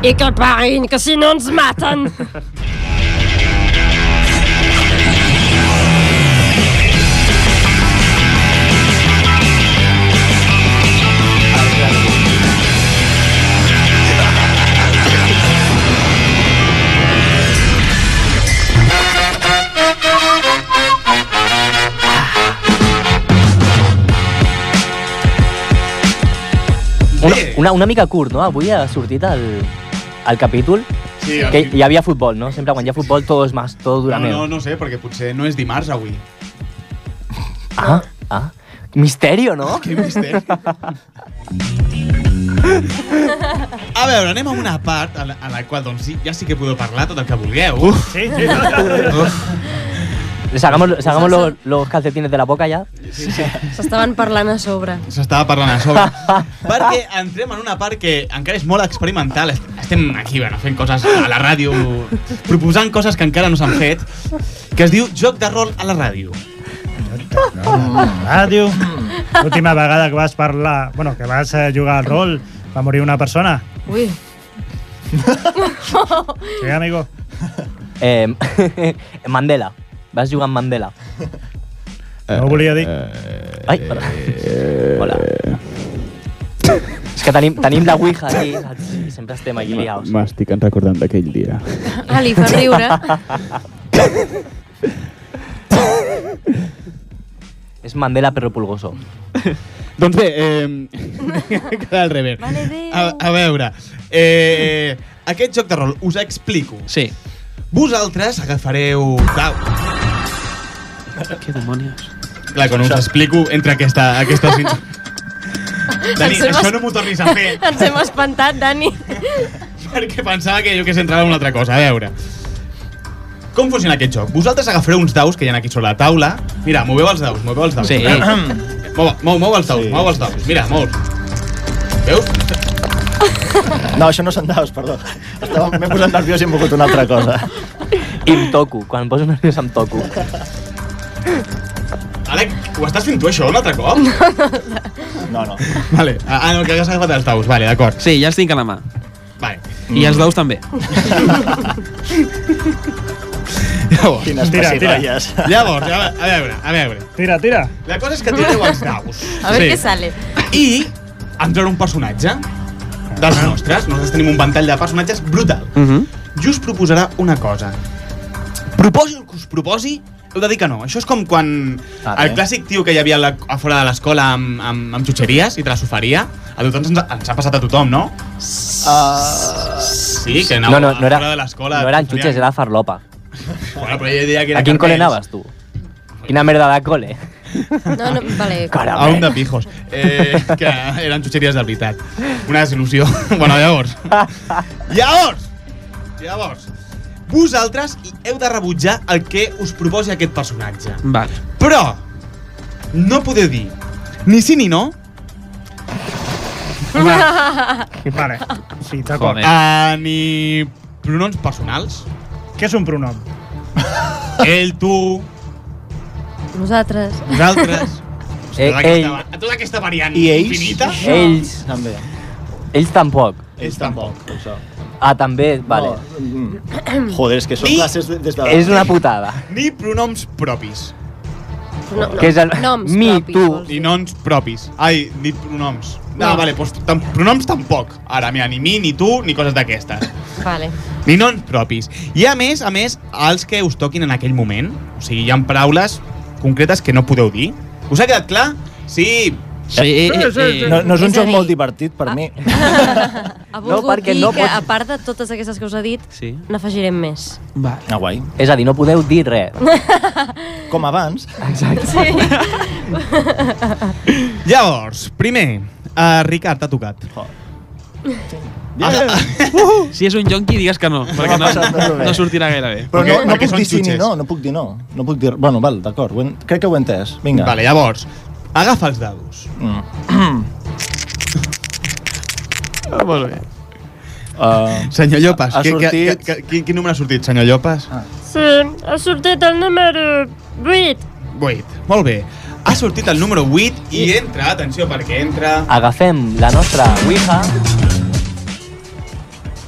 I que paguin, que si no ens maten. Una, una, una mica curt, no? Avui ha sortit el, el capítol. Sí, que el- hi havia futbol, no? Sempre quan hi ha futbol tot és més, tot dura No, més. no, no sé, perquè potser no és dimarts avui. Ah, ah. Misterio, Ah, no? Quin misteri. A veure, anem a una part a la, a la qual doncs, sí, ja sí que podeu parlar tot el que vulgueu. Uf. Sí, sí. Sacamos, sacamos los, los calcetines de la boca ya. Sí, sí. S'estaven parlant a sobre. S'estava parlant a sobre. perquè entrem en una part que encara és molt experimental. Est- Estem aquí bueno, fent coses a la ràdio, proposant coses que encara no s'han fet, que es diu Joc de rol a la ràdio. Ràdio. L'última vegada que vas parlar, bueno, que vas eh, jugar al rol, va morir una persona. Ui. Sí, amigo? Eh, Mandela. Vas jugar amb Mandela. Eh, No ho volia dir. Ai, perdó. Hola. És que tenim, tenim la Ouija aquí, saps? I sempre estem aquí liados. M'estic recordant d'aquell dia. Ah, li fa riure. És Mandela perro pulgoso. Doncs bé, eh, queda al revés. a, a veure, eh, aquest joc de rol, us explico. Sí. Vosaltres agafareu... Clau, Què demonios? clar, quan us explico, entre aquesta... aquesta... Dani, Ens hem això es- no m'ho tornis a fer. Ens hem espantat, Dani. perquè pensava que jo que s'entrava en una altra cosa. A veure, com funciona aquest joc? Vosaltres agafareu uns daus que hi ha aquí sobre la taula. Mira, moveu els daus, moveu els daus. Sí. mou, mou, mou els daus, sí. mou els daus. Mira, mou. Veus? No, això no són daus, perdó. Estava- M'he posat nerviós i he mogut una altra cosa. I em toco. Quan em poso nerviós em toco. Alec, ho estàs fent tu això un altre cop? No, no. Vale. Ah, ah, no, que has agafat els daus. Vale, d'acord. Sí, ja els tinc a la mà. Vale. I Mm. els daus també. Llavors, Quines Tira, tira. passirolles. Llavors, a ve- a veure, a veure. Tira, tira. La cosa és que tireu els daus. A ver qué sale. I ens veurà un personatge dels Ah. nostres. Nosaltres tenim un ventall de personatges brutal. Uh -huh. i us proposarà una cosa. Proposi el que us proposi, heu de dir que no. Això és com quan el clàssic tio que hi havia a, la, a fora de l'escola amb, amb, amb xutxeries i te les oferia. A tothom ens, ens ha passat a tothom, no? sí, que anava Ah. no, no, no a fora de l'escola. No eren t'oferien- xutxes, era farlopa. Bueno, però jo diria que ¿A eren quin cole cartells. anaves, tu? Quina merda de cole. No, no, vale. A un de pijos. Eh, que eren xutxeries de veritat. Una desil·lusió. bueno, llavors. llavors! Llavors. Vosaltres hi heu de rebutjar el que us proposi aquest personatge. Vale. Però no podeu dir ni sí ni no. Vale. Sí, d'acord. Joder. Uh, ni pronoms personals. Què és un pronom? Ell, tu, Nosaltres. vosaltres. tota, Eh, ell. aquesta, va- tota aquesta variant I ells? infinita. Ells. També. Ells tampoc. Ells tampoc. Això. Ah, també, vale. Joder, és que són Ni- classes de- des de... És una putada. Ni pronoms propis. No, Que és el- Noms mi, propis, tu. vols Ni noms propis. Ai, ni pronoms. No, no. vale, doncs, tam pronoms tampoc. Ara, mira, ni mi, ni tu, ni coses d'aquestes. Vale. Ni noms propis. I a més, a més, els que us toquin en aquell moment. O sigui, hi ha paraules concretes que no podeu dir. Us ha quedat clar? Sí. Sí, No, no és un joc molt divertit per mi. Ha No, volgut perquè dir no que, pots- a part de totes aquestes que us he dit, Sí. n'afegirem més. Vale. Ah, guai. És a dir, no podeu dir res. Com abans. Exacte. Llavors, primer, uh, Ricard, t'ha tocat. Ah. Si és un jonqui, digues que no, perquè no, passa res, no sortirà gaire bé. Però no, no perquè puc són dir sí ni xutxes. no, no puc dir no. No puc dir... Bueno, val, d'acord, ho he- crec que ho he entès. Vinga. Vale, llavors, agafa els dados. Mm. Ah, Molt bé. Uh, senyor Llopas, ha que, que, que, sortit- que, quin, quin número ha sortit, senyor Llopas? Ah. Sí, ha sortit el número 8. 8. Molt bé. Ha sortit el número 8 i entra, atenció, perquè entra... Agafem la nostra Ouija.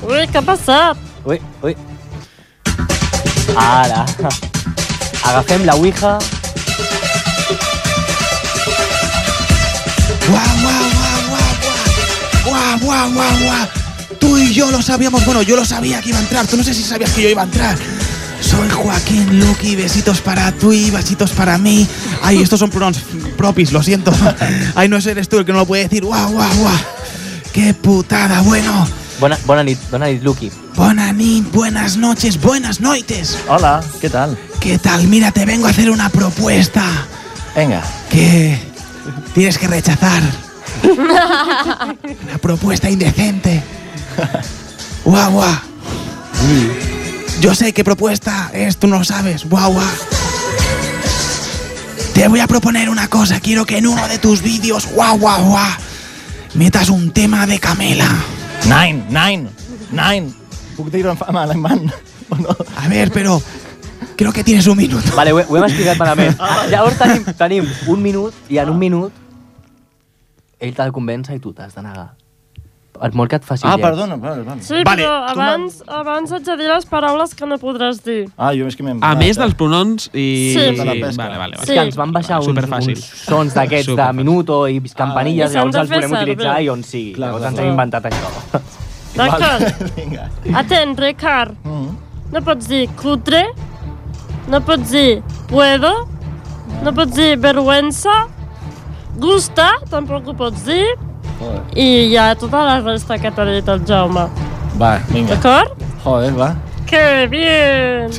Ui, què ha passat? Ui, ui. Ara. Agafem la Ouija. ¡Guau, guau, guau, guau! Tú y yo lo sabíamos, bueno, yo lo sabía que iba a entrar. Tú no sé si sabías que yo iba a entrar. Soy Joaquín Luqui, besitos para tú y besitos para mí. Ay, estos son pronoms propis, lo siento. Ay, no eres tú el que no lo puede decir. ¡Guau, guau, guau! ¡Qué putada! Bueno, Bona, bona nit, bona nit, Lucky. Bonanín, buenas noches, buenas noites. Hola, ¿qué tal? ¿Qué tal? Mira, te vengo a hacer una propuesta Venga. que tienes que rechazar. Una propuesta indecente. Guau, guau. Yo sé qué propuesta es, tú no lo sabes. Guau, guau. Te voy a proponer una cosa. Quiero que en uno de tus vídeos, guau, guau, guau, metas un tema de Camela. Nine, nine, nine. Puc dir-ho en fa- en alemán o no? A ver, pero creo que tienes un minuto. Vale, ho, he- ho hem explicat malament. Llavors tenim, tenim un minut i en un minut ell te'l convença i tu t'has de negar. Per molt que et faci Ah, lleig. perdona, vale, vale. Sí, però abans, abans haig de dir les paraules que no podràs dir. Ah, jo és que m'he... A més dels pronoms i... Sí. Vale, De la vale, pesca. vale, vale. És que ens van baixar uns, Superfàcil. uns sons d'aquests de Superfàcil. minuto i campanilles, I s'han llavors de els fer podem servir. utilitzar i on sigui. Clar, llavors clar, ens clar. hem inventat això. D'acord? Vinga. Atent, Ricard. Mm. No pots dir cutre, no pots dir puedo, no pots dir vergüenza, gusta, tampoc ho pots dir, Joder. i hi ha tota la resta que t'ha dit el Jaume. Va, vinga. D'acord? Joder, va. Que bien!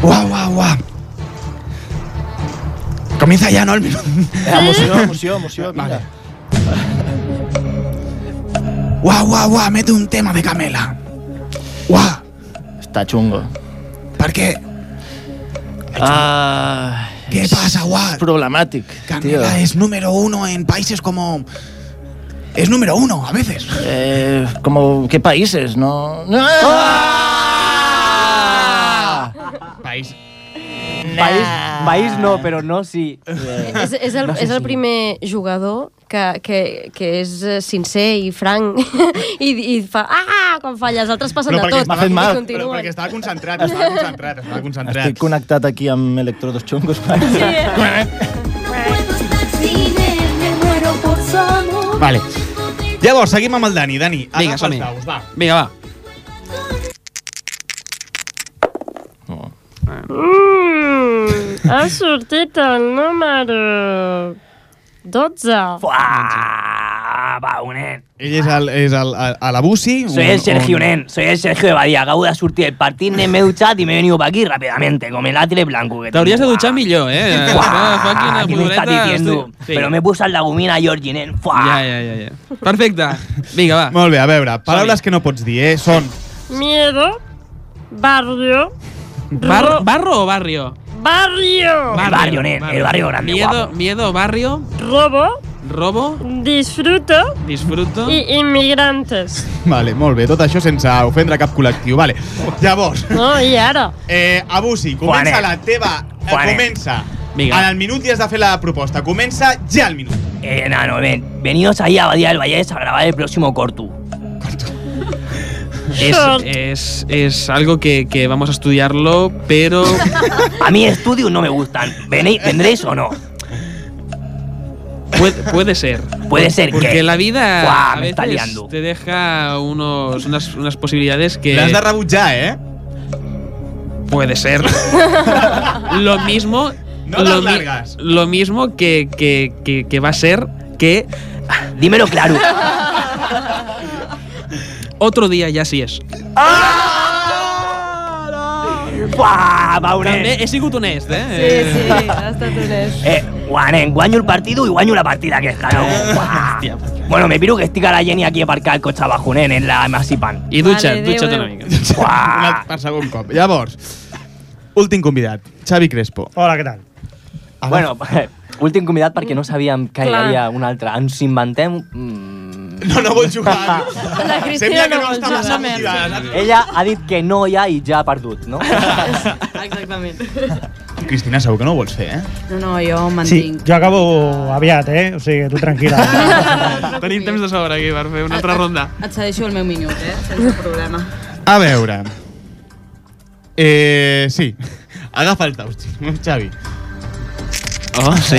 Guau, guau, guau. Comienza ya, ¿no? El minuto. Emoció, emoció, emoció, vinga. Guau, guau, guau, mete un tema de Camela. Guau, Està xungo. ¿por qué? Ah, ¿Qué pasa, guau? és problemàtic, tio. Camela es número uno en países como... Es número uno, a veces. Eh, como, ¿qué países? No... no. ¡Ah! País. País, Ah. país no, però no sí. Eh. És, és, el, No sé és el si- primer jugador que, que, que és eh, sincer i franc i, i fa... Ah! Quan falla, els altres passen Però de perquè tot. estava- i Però continuen. perquè estava concentrat, estava concentrat, estava concentrat. Estic connectat aquí amb electrodos xungos. Vale. Llavors, seguim amb el Dani. Dani, Vinga, agafa els som-hi. daus, va. Vinga, va. Mm, Ha sortit el número 12. Fuà, va, un nen. Ell és, el, és el, a, a la Busi. Soy el Sergio Nen, soy el Sergio de Badía. Acabo de surtir el partido de meu chat y me he venido para aquí rápidamente con el atre blanco. que T'hauries de tengo. dutxar millor, eh? Fuà, Fa quina ¿qué me estás pudoreta, diciendo? hosti. Sí. Pero me puse la gomina Georgie Nen. Fuà. Ja, ja, ja, ja. Perfecte. Vinga, va. Molt bé, a veure, paraules que no pots dir, eh? Són Miedo. Barrio. Bar- ¿Barro o barrio? Barrio. Miedo, miedo, barrio, Robo. robo, Disfruto. disfruto. Y inmigrantes. Vale, molt bé, tot això sense ofendre cap col·lectiu. Vale, llavors... No, i ara? Eh, Abusi, comença Juanet. la teva... Eh, Juanet. comença. Vinga. En el minut i has de fer la proposta. Comença ja el minut. Eh, enano, ven. Venidos ahí a Badía del Valle a grabar el próximo corto. Es, es, es algo que, que vamos a estudiarlo, pero. A mí estudios no me gustan. ¿Venéis- ¿Vendréis o no? Puede, puede ser. Puede ser Porque que- la vida Buah, a me está veces liando. te deja unos, unas, unas posibilidades que. L'has de rebutjar, eh? Puede ser. lo mismo. No las lo, mi- largas. lo mismo que, que, que, que va a ser que. Dímelo claro. Otro día ya sí es. Buah, va, un nen. També he sigut honest, eh? ha estat honest. Eh, guanen, guaño el partido y guaño la partida que está. ¿no? Eh, Buah. pues. bueno, me piro que estica la Jenny aquí a aparcar el coche abajo, nen, en la Massipan. I dutxa't, Vale, adéu, dutxa't una adéu. mica. Una, per segon cop. Llavors, últim convidat, Xavi Crespo. Hola, què tal? Bueno, últim convidat perquè no sabíem que hi Clar. havia un altre. Ens inventem... mm, No, no vol jugar. La Cristina Sembla que no no vol està massa jugar, no motivada. Ella ha dit que no hi ha i ja ha perdut, no? Exactament. Cristina, segur que no ho vols fer, eh? No, no, jo ho Sí, mantinc. jo acabo aviat, eh? O sigui, tu tranquil·la. Tenim temps de sobre aquí per fer una altra ronda. Et cedeixo el meu minut, eh? Sense problema. A veure... Eh, sí. Agafa el taust, Xavi. Oh, sí.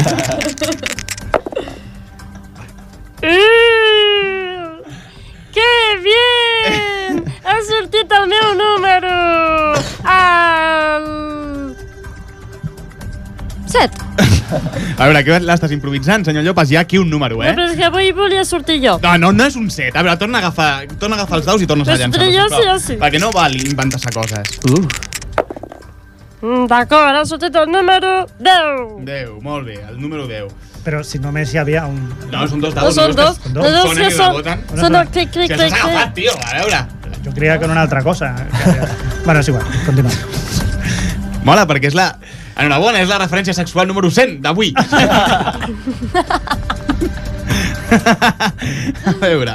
Uh, que bien! Ha sortit el meu número! El... Set. A veure, que l'estàs improvisant, senyor Llopas. Hi ha aquí un número, No, eh? però és que avui volia sortir jo. No, no, no és un set. A veure, torna a agafar, torna a agafar els daus i tornes a Pues llançar. jo sí, jo sí. Perquè no val inventar-se coses. Uh. Mm, D'acord, ha sortit el número 10. 10, molt bé, el número 10. Però si només hi havia un... No, són dos No daus. són dos, Són no dos. dos Ponen que i són... reboten. Són el clic, clic, Si els clic, has agafat, clic. tio, a veure. Jo creia que era una altra cosa. bueno, és igual, continua. Mola, perquè és la... Enhorabona, és la referència sexual número 100 d'avui. a veure...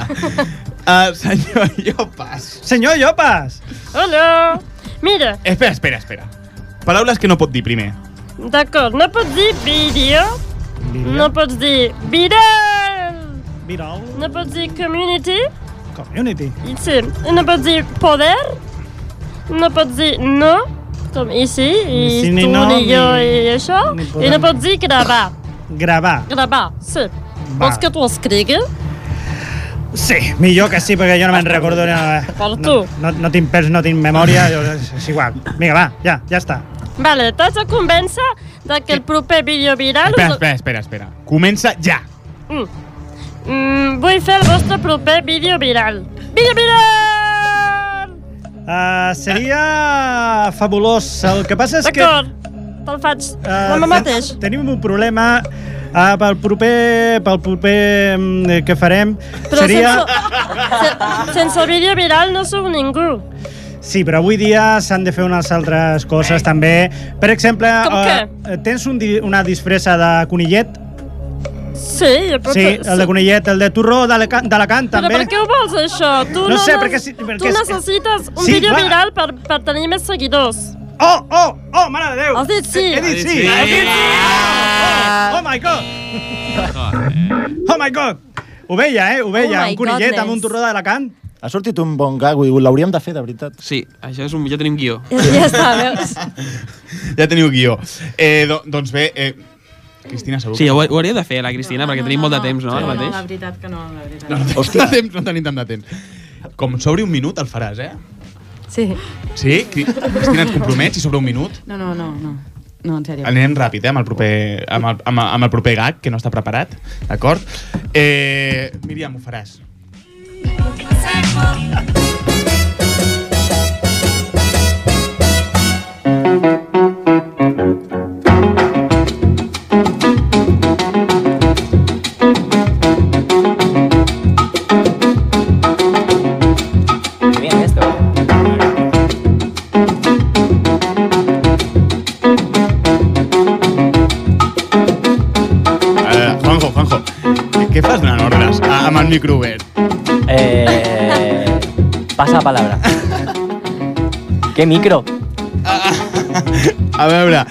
Uh, senyor Llopas. Senyor Llopas! Hola! Mira, Espera, espera, espera. Paraules que no pot dir primer. d'acord, no pots dir vídeo, no pots dir viral, Viral. no pots dir community, Community. i sí, i no pots dir poder, no pots dir no, com ici, i Ni sí, ni tu, no, ni jo, ni- i això, ni i podem. no pots dir gravar, Gravar. gravar, sí. Va. Vols que t'ho escrigui? Sí, millor que sí, perquè jo no me'n recordo. No, Per no, no, no tinc pers, no tinc memòria, jo, és, és igual. Vinga, va, ja, ja està. Vale, t'has de convèncer de que el proper vídeo viral... Espera, espera, espera, espera. Comença ja. Mm. Mm, vull fer el vostre proper vídeo viral. Vídeo viral! Uh, seria fabulós. El que passa és que... D'acord, te'l faig Eh, demà mateix. ten- Tenim un problema uh, pel proper, pel proper mm, que farem. Però seria... sense, se, sense el vídeo viral no sóc ningú. Sí, però avui dia s'han de fer unes altres coses també. Per exemple, Com eh, tens un di una disfressa de conillet? Sí, però... sí, el de conillet, el de torró d'Aleca- d'Alacant Però també. per què ho vols, això? Tu No no, sé, nes- perquè si- perquè tu és- necessites un Sí, vídeo clar. viral per, per tenir més seguidors. Oh, oh, oh, mare de Déu! Has dit sí! He dit sí! He dit sí! Ah. Oh, oh my god! Oh my god! Ho veia, eh? Ho veia, Oh my un conillet goodness. amb un torró d'Alacant. Ha sortit un bon gag, ho l'hauríem de fer, de veritat. Sí, això és un... Ja tenim guió. Ja està, veus? Ja teniu guió. Eh, do, doncs bé, eh, Cristina, segur Sí, ho, ho hauria de fer, la Cristina, perquè tenim molt de temps, no, ara No, mateix? la veritat que no, la veritat. No, no, tenim tant de temps, no tenim tant de temps. Com s'obri un minut el faràs, eh? Sí. Sí? Cri- Cristina, et compromets si s'obre un minut? No, no, no, no. No, en sèrio. Anirem ràpid, eh, amb el proper, amb el, amb, el- amb el proper gag, que no està preparat, d'acord? Eh, Miriam, ho faràs. Bien, esto. Eh, Juanjo, Juanjo, què, què fas donant ordres a, amb el micro obert? Eh, pasa palabra. ¿Qué micro? A veure,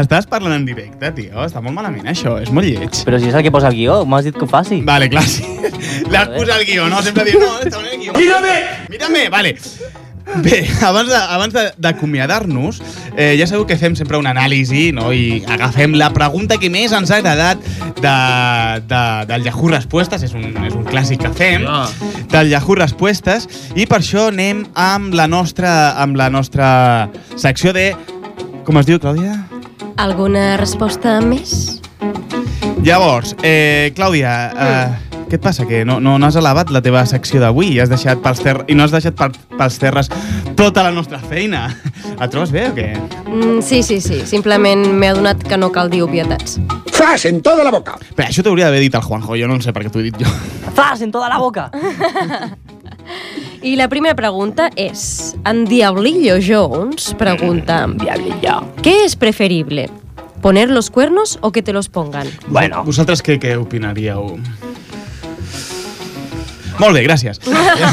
estàs parlant en directe, tio. Està molt malament, això. És molt lleig. Però si és el que posa el guió, m'has dit que ho faci. Vale, clar, sí. L'has posat al guió, no? Sempre dius, no, està en el guió. Mírame! Mírame, vale. Bé, abans de- abans de- d'acomiadar-nos, eh, ja sabeu que fem sempre una anàlisi no? i agafem la pregunta que més ens ha agradat de, de, del Yahoo Respuestes, és un, és un clàssic que fem, del Yahoo Respuestes, i per això anem amb la nostra, amb la nostra secció de... Com es diu, Clàudia? Alguna resposta més? Llavors, eh, Clàudia, eh, què et passa? Que no, no, no has elevat la teva secció d'avui i has deixat pels ter i no has deixat per, pels terres tota la nostra feina. Et trobes bé o què? Mm, sí, sí, sí. Simplement m'he adonat que no cal dir obvietats. Fas en tota la boca! Però això t'hauria d'haver dit el Juanjo, jo no sé per què t'ho he dit jo. ¡Zas en toda la boca! I la primera pregunta és... En Diablillo Jones pregunta... Diablillo. ¿Qué es preferible? ¿Poner los cuernos o que te los pongan? Bueno. Vosaltres què, què opinaríeu? Molt bé, gràcies. Ah,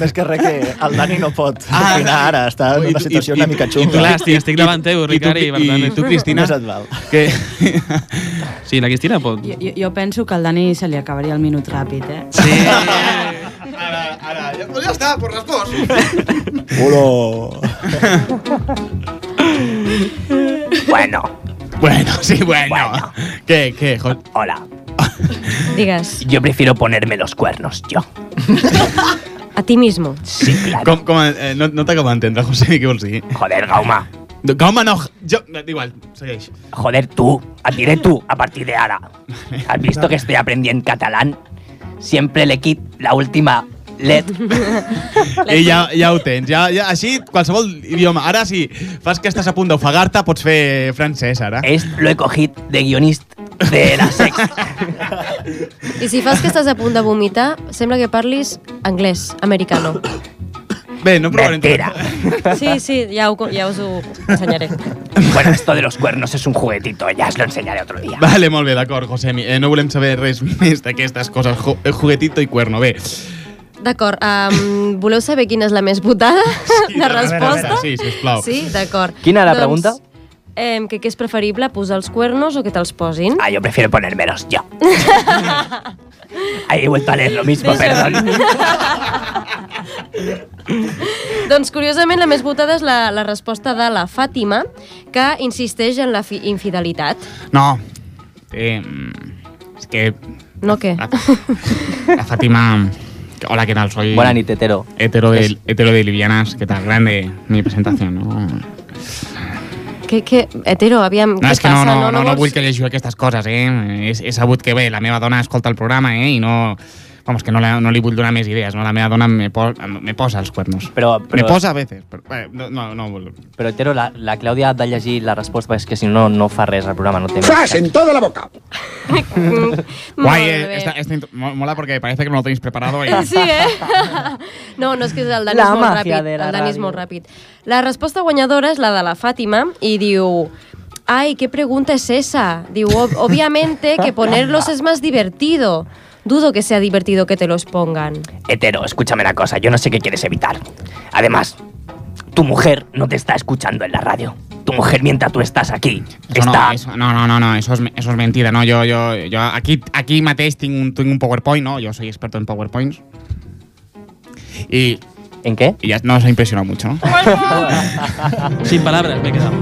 Més que res que el Dani no pot ah, opinar ara, està en una situació i- una mica xunga. i tu, Làstima, estic davant teu, Ricard, i per tant- I eh, tu, Cristina? Més et Que... Sí, la Cristina pot... Jo, jo, jo penso que al Dani se li acabaria el minut ràpid, eh? Sí. Ara, ja, pues ja està, pues respost. Hola. Bueno. Bueno, sí, bueno. ¿Qué, qué? Hola. Digas, Yo prefiero ponerme los cuernos, yo. a ti mismo. Sí, claro. Com, com, eh, no, no t'acabo d'entendre, José, què vols dir? Joder, Gauma. Gauma no, jo... Igual, segueix. Joder, tú, a diré tú, a partir de ahora. ¿Has visto que estoy aprendiendo catalán? Siempre le quit la última led. I Eh, ja, ja ho tens. Ja, ja, així, qualsevol idioma. Ara, si fas que estàs a punt d'ofegar-te, pots fer francès, ara. Eh, És lo he cogit de guionist de la sex. I si fas que estàs a punt de vomitar, sembla que parlis anglès, americano. Bé, no provarem. Mentira. Sí, sí, ja, ho, ja us ho ensenyaré. Bueno, esto de los cuernos es un juguetito, ya os lo enseñaré otro día. Vale, molt bé, d'acord, Josemi. Eh, no volem saber res més d'aquestes coses. Jo, eh, juguetito i cuerno. Bé, D'acord, um, voleu saber quina és la més votada sí, de resposta? sí, sisplau. Sí, d'acord. Quina era la pregunta? Eh, que què és preferible, posar els cuernos o que te'ls posin? Ah, yo prefiero ponérmelos yo. Ahí he vuelto a leer lo mismo, perdón. Doncs curiosament la més votada és la, la resposta de la Fàtima, que insisteix en la fi infidelitat. No. Eh, mm, és que No què? la Fátima... Hola, ¿qué tal? Soy... Buena nit, hetero. Hetero de, hetero de Livianas. ¿Qué tal? Grande mi presentación, ¿no? Què, què? Hetero, aviam, No, què Ah, és que passa? no, no, no, no vols- vull que llegiu aquestes coses, eh? He, he sabut que, bé, la meva dona escolta el programa, eh? I no... Vamos, que no, la, no li vull donar més idees, no? La meva dona me, po me posa els cuernos. Però, Me però, posa a veces. Però, eh, no, no, no vull... però Tero, la, la Clàudia ha de llegir la resposta, perquè és que si no, no fa res al programa. No té Fas en toda la boca! Guai, Molt eh? bé. Esta, esta intro- mo- mola porque parece que no lo tenéis preparado. Y... Sí, eh? No, no, és que el Dani és La molt màgia ràpid. de la El Dani és ràdio. molt ràpid. La resposta guanyadora és la de la Fàtima i diu... Ai, ¿qué pregunta es esa? Diu, "Ob- obviamente que ponerlos es más divertido. Dudo que sea divertido que te los pongan. Hetero, escúchame una cosa, yo no sé qué quieres evitar. Además, tu mujer no te está escuchando en la radio. Tu mujer, mientras tú estás aquí, Eso está... no, eso- no, no, no, no, eso es, me- eso es mentira, no, yo, yo, yo aquí, aquí matéis tengo un, tinc un PowerPoint, no, yo soy experto en PowerPoints. Y... ¿En qué? Y ya no os ha impresionado mucho, ¿no? Sin palabras, me he quedado.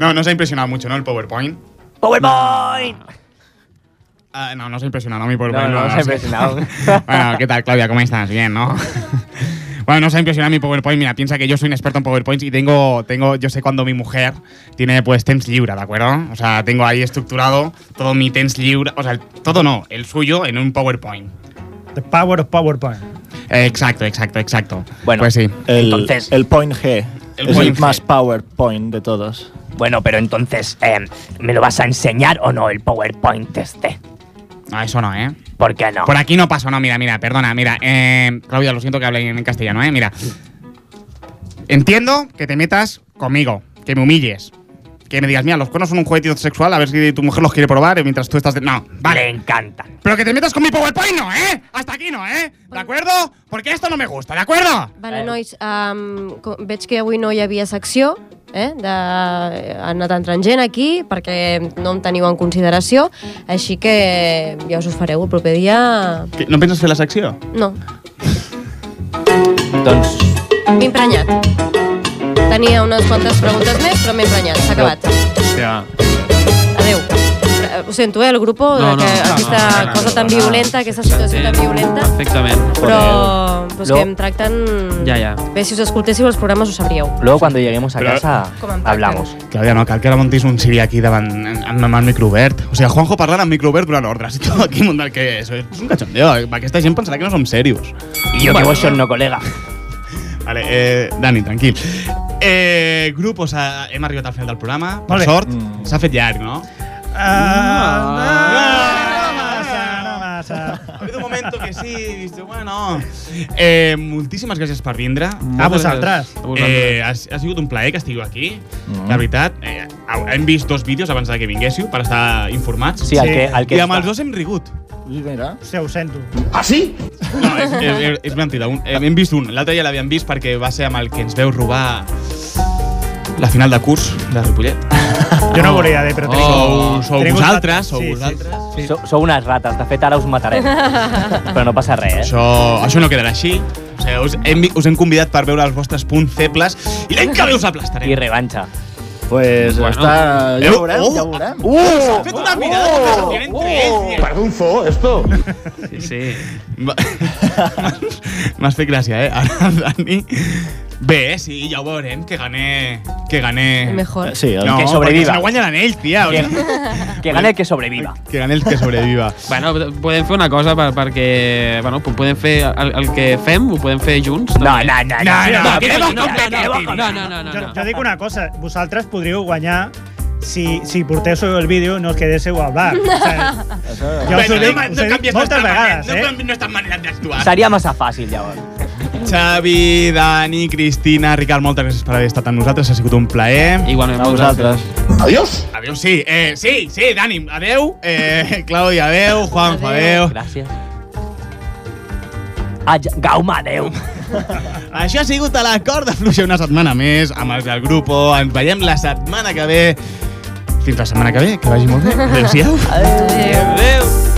No, no os ha impresionado mucho, ¿no? El PowerPoint. ¡PowerPoint! Ah, no, no os ha impresionado, ¿no? Mi PowerPoint. no os ha sé. impresionado. bueno, ¿qué tal, Claudia? ¿Cómo estás? Bien, ¿no? Bueno, no os ha impresionado mi PowerPoint. Mira, piensa que yo soy un experto en PowerPoints y tengo, tengo, yo sé cuando mi mujer tiene pues temps libre, ¿de acuerdo? O sea, tengo ahí estructurado todo mi temps libre, o sea, el- todo no, el suyo en un PowerPoint. The power of PowerPoint. Eh, exacto, exacto, exacto. Bueno, pues sí. El, el point G. El es point el más PowerPoint de todos. Bueno, pero entonces, em, eh, ¿me lo vas a enseñar o no el PowerPoint este? No, eso no, ¿eh? ¿Por qué no? Por aquí no paso, no, mira, mira, perdona, mira. eh, Claudia, lo siento que hable en castellano, ¿eh? Mira. Entiendo que te metas conmigo, que me humilles, que me digas, mira, los cuernos son un juguetito sexual, a ver si tu mujer los quiere probar eh, mientras tú estás... de- No, vale. Me encanta. Pero que te metas con mi PowerPoint no, ¿eh? Hasta aquí no, ¿eh? ¿De acuerdo? Porque esto no me gusta, ¿de acuerdo? Vale, nois, um, veig que avui no hi havia secció, eh, de, ha anat entrant gent aquí perquè no em teniu en consideració, així que ja us ho fareu el proper dia... Què, No penses fer la secció? No, Doncs m'he emprenyat. Tenia unes quantes preguntes més, però m'he emprenyat, s'ha acabat. Hòstia. Adéu. Eh, Ho sento, eh, el grup, No, no, que no, aquesta no, no, cosa tan no, no. violenta, aquesta situació tan violenta, Perfectament. però, però és que em tracten... Ja, ja. Bé, si us escoltéssiu els programes ho sabríeu. Luego cuando lleguemos a Pero- casa hablamos. Claudia, no, cal que ara montis un siri aquí eh, davant amb, amb el micro obert. O sigui, Juanjo parlant amb micro obert durant ordres i tot aquí muntant que és, és un cachondeo. Aquesta gent pensarà que no som serios. I jo que vos son no colega. Vale, eh, Dani, tranquil. Eh, grup, o sea, hem arribat al final del programa. Per Molt bé. sort, Mm. s'ha fet llarg, no? Ah, Ha habido un momento que sí, dice, bueno... Eh, moltíssimes gràcies per vindre. A vosaltres. A vosaltres. Eh, ha, ha sigut un plaer que estigueu aquí. Mm. La veritat, eh, au- hem vist dos vídeos abans de que vinguéssiu per estar informats. Sí, el Sí. que- el que I amb està. els dos hem rigut. Mira. Hòstia, ho sento. Ah, sí? No, és, és, és mentida. Un, eh, hem vist un. L'altre ja l'havíem vist perquè va ser amb el que ens veu robar la final de curs de Ripollet. Jo no volia dir, però tenim... Oh, sou tenim un- vosaltres, sou Sí, sí, vosaltres. Sí. So, sou unes rates, de fet ara us matarem. Però no passa res, eh? Això, això no quedarà així. O sigui, us, hem, vi- us hem convidat per veure els vostres punts febles i l'any que ve us aplastarem. I revanxa. Pues Bueno. està... Ja Eh, ho veurem, oh, ja ho veurem. ¡Uh! ¡Haced una mirada de conversación Oh, entre ellos! Parece un zoo, esto. Sí, sí. M'has fet gràcia, eh? Ara, Dani... Bé, sí, ja ho veurem, que gane... Que Eh, gane... El mejor. Sí, el no, que sobreviva. perquè Si no guanya l'anell, tia. Que, o sigui, que gane el que sobreviva. que gane el que sobreviva. Bueno, podem fer una cosa per, perquè... Bueno, po- podem fer el, el que fem, ho podem fer junts. No, no, no. no, no, no, no, no, no, no, no, no, Jo, jo dic una cosa, vosaltres podríeu guanyar si, si portéssiu el vídeo i no us quedéssiu a hablar. O sigui, jo us ho dic, us ho dic moltes vegades, eh? No estàs manerat d'actuar. Seria massa fàcil, llavors. Xavi, Dani, Cristina, Ricard, moltes gràcies per haver estat amb nosaltres. Ha sigut un plaer. Igualment. A vosaltres. Adiós. Adiós, sí. Eh, sí, sí, Dani, adeu. Eh, Claudia, adeu. Juanjo, adeu. Gràcies. Ah, ja- Gaume, adeu. Això ha sigut a la corda fluixa una setmana més amb els del grupo. Ens veiem la setmana que ve. Fins la setmana que ve. Que vagi molt bé. Adéu-siau. Adéu. Adéu.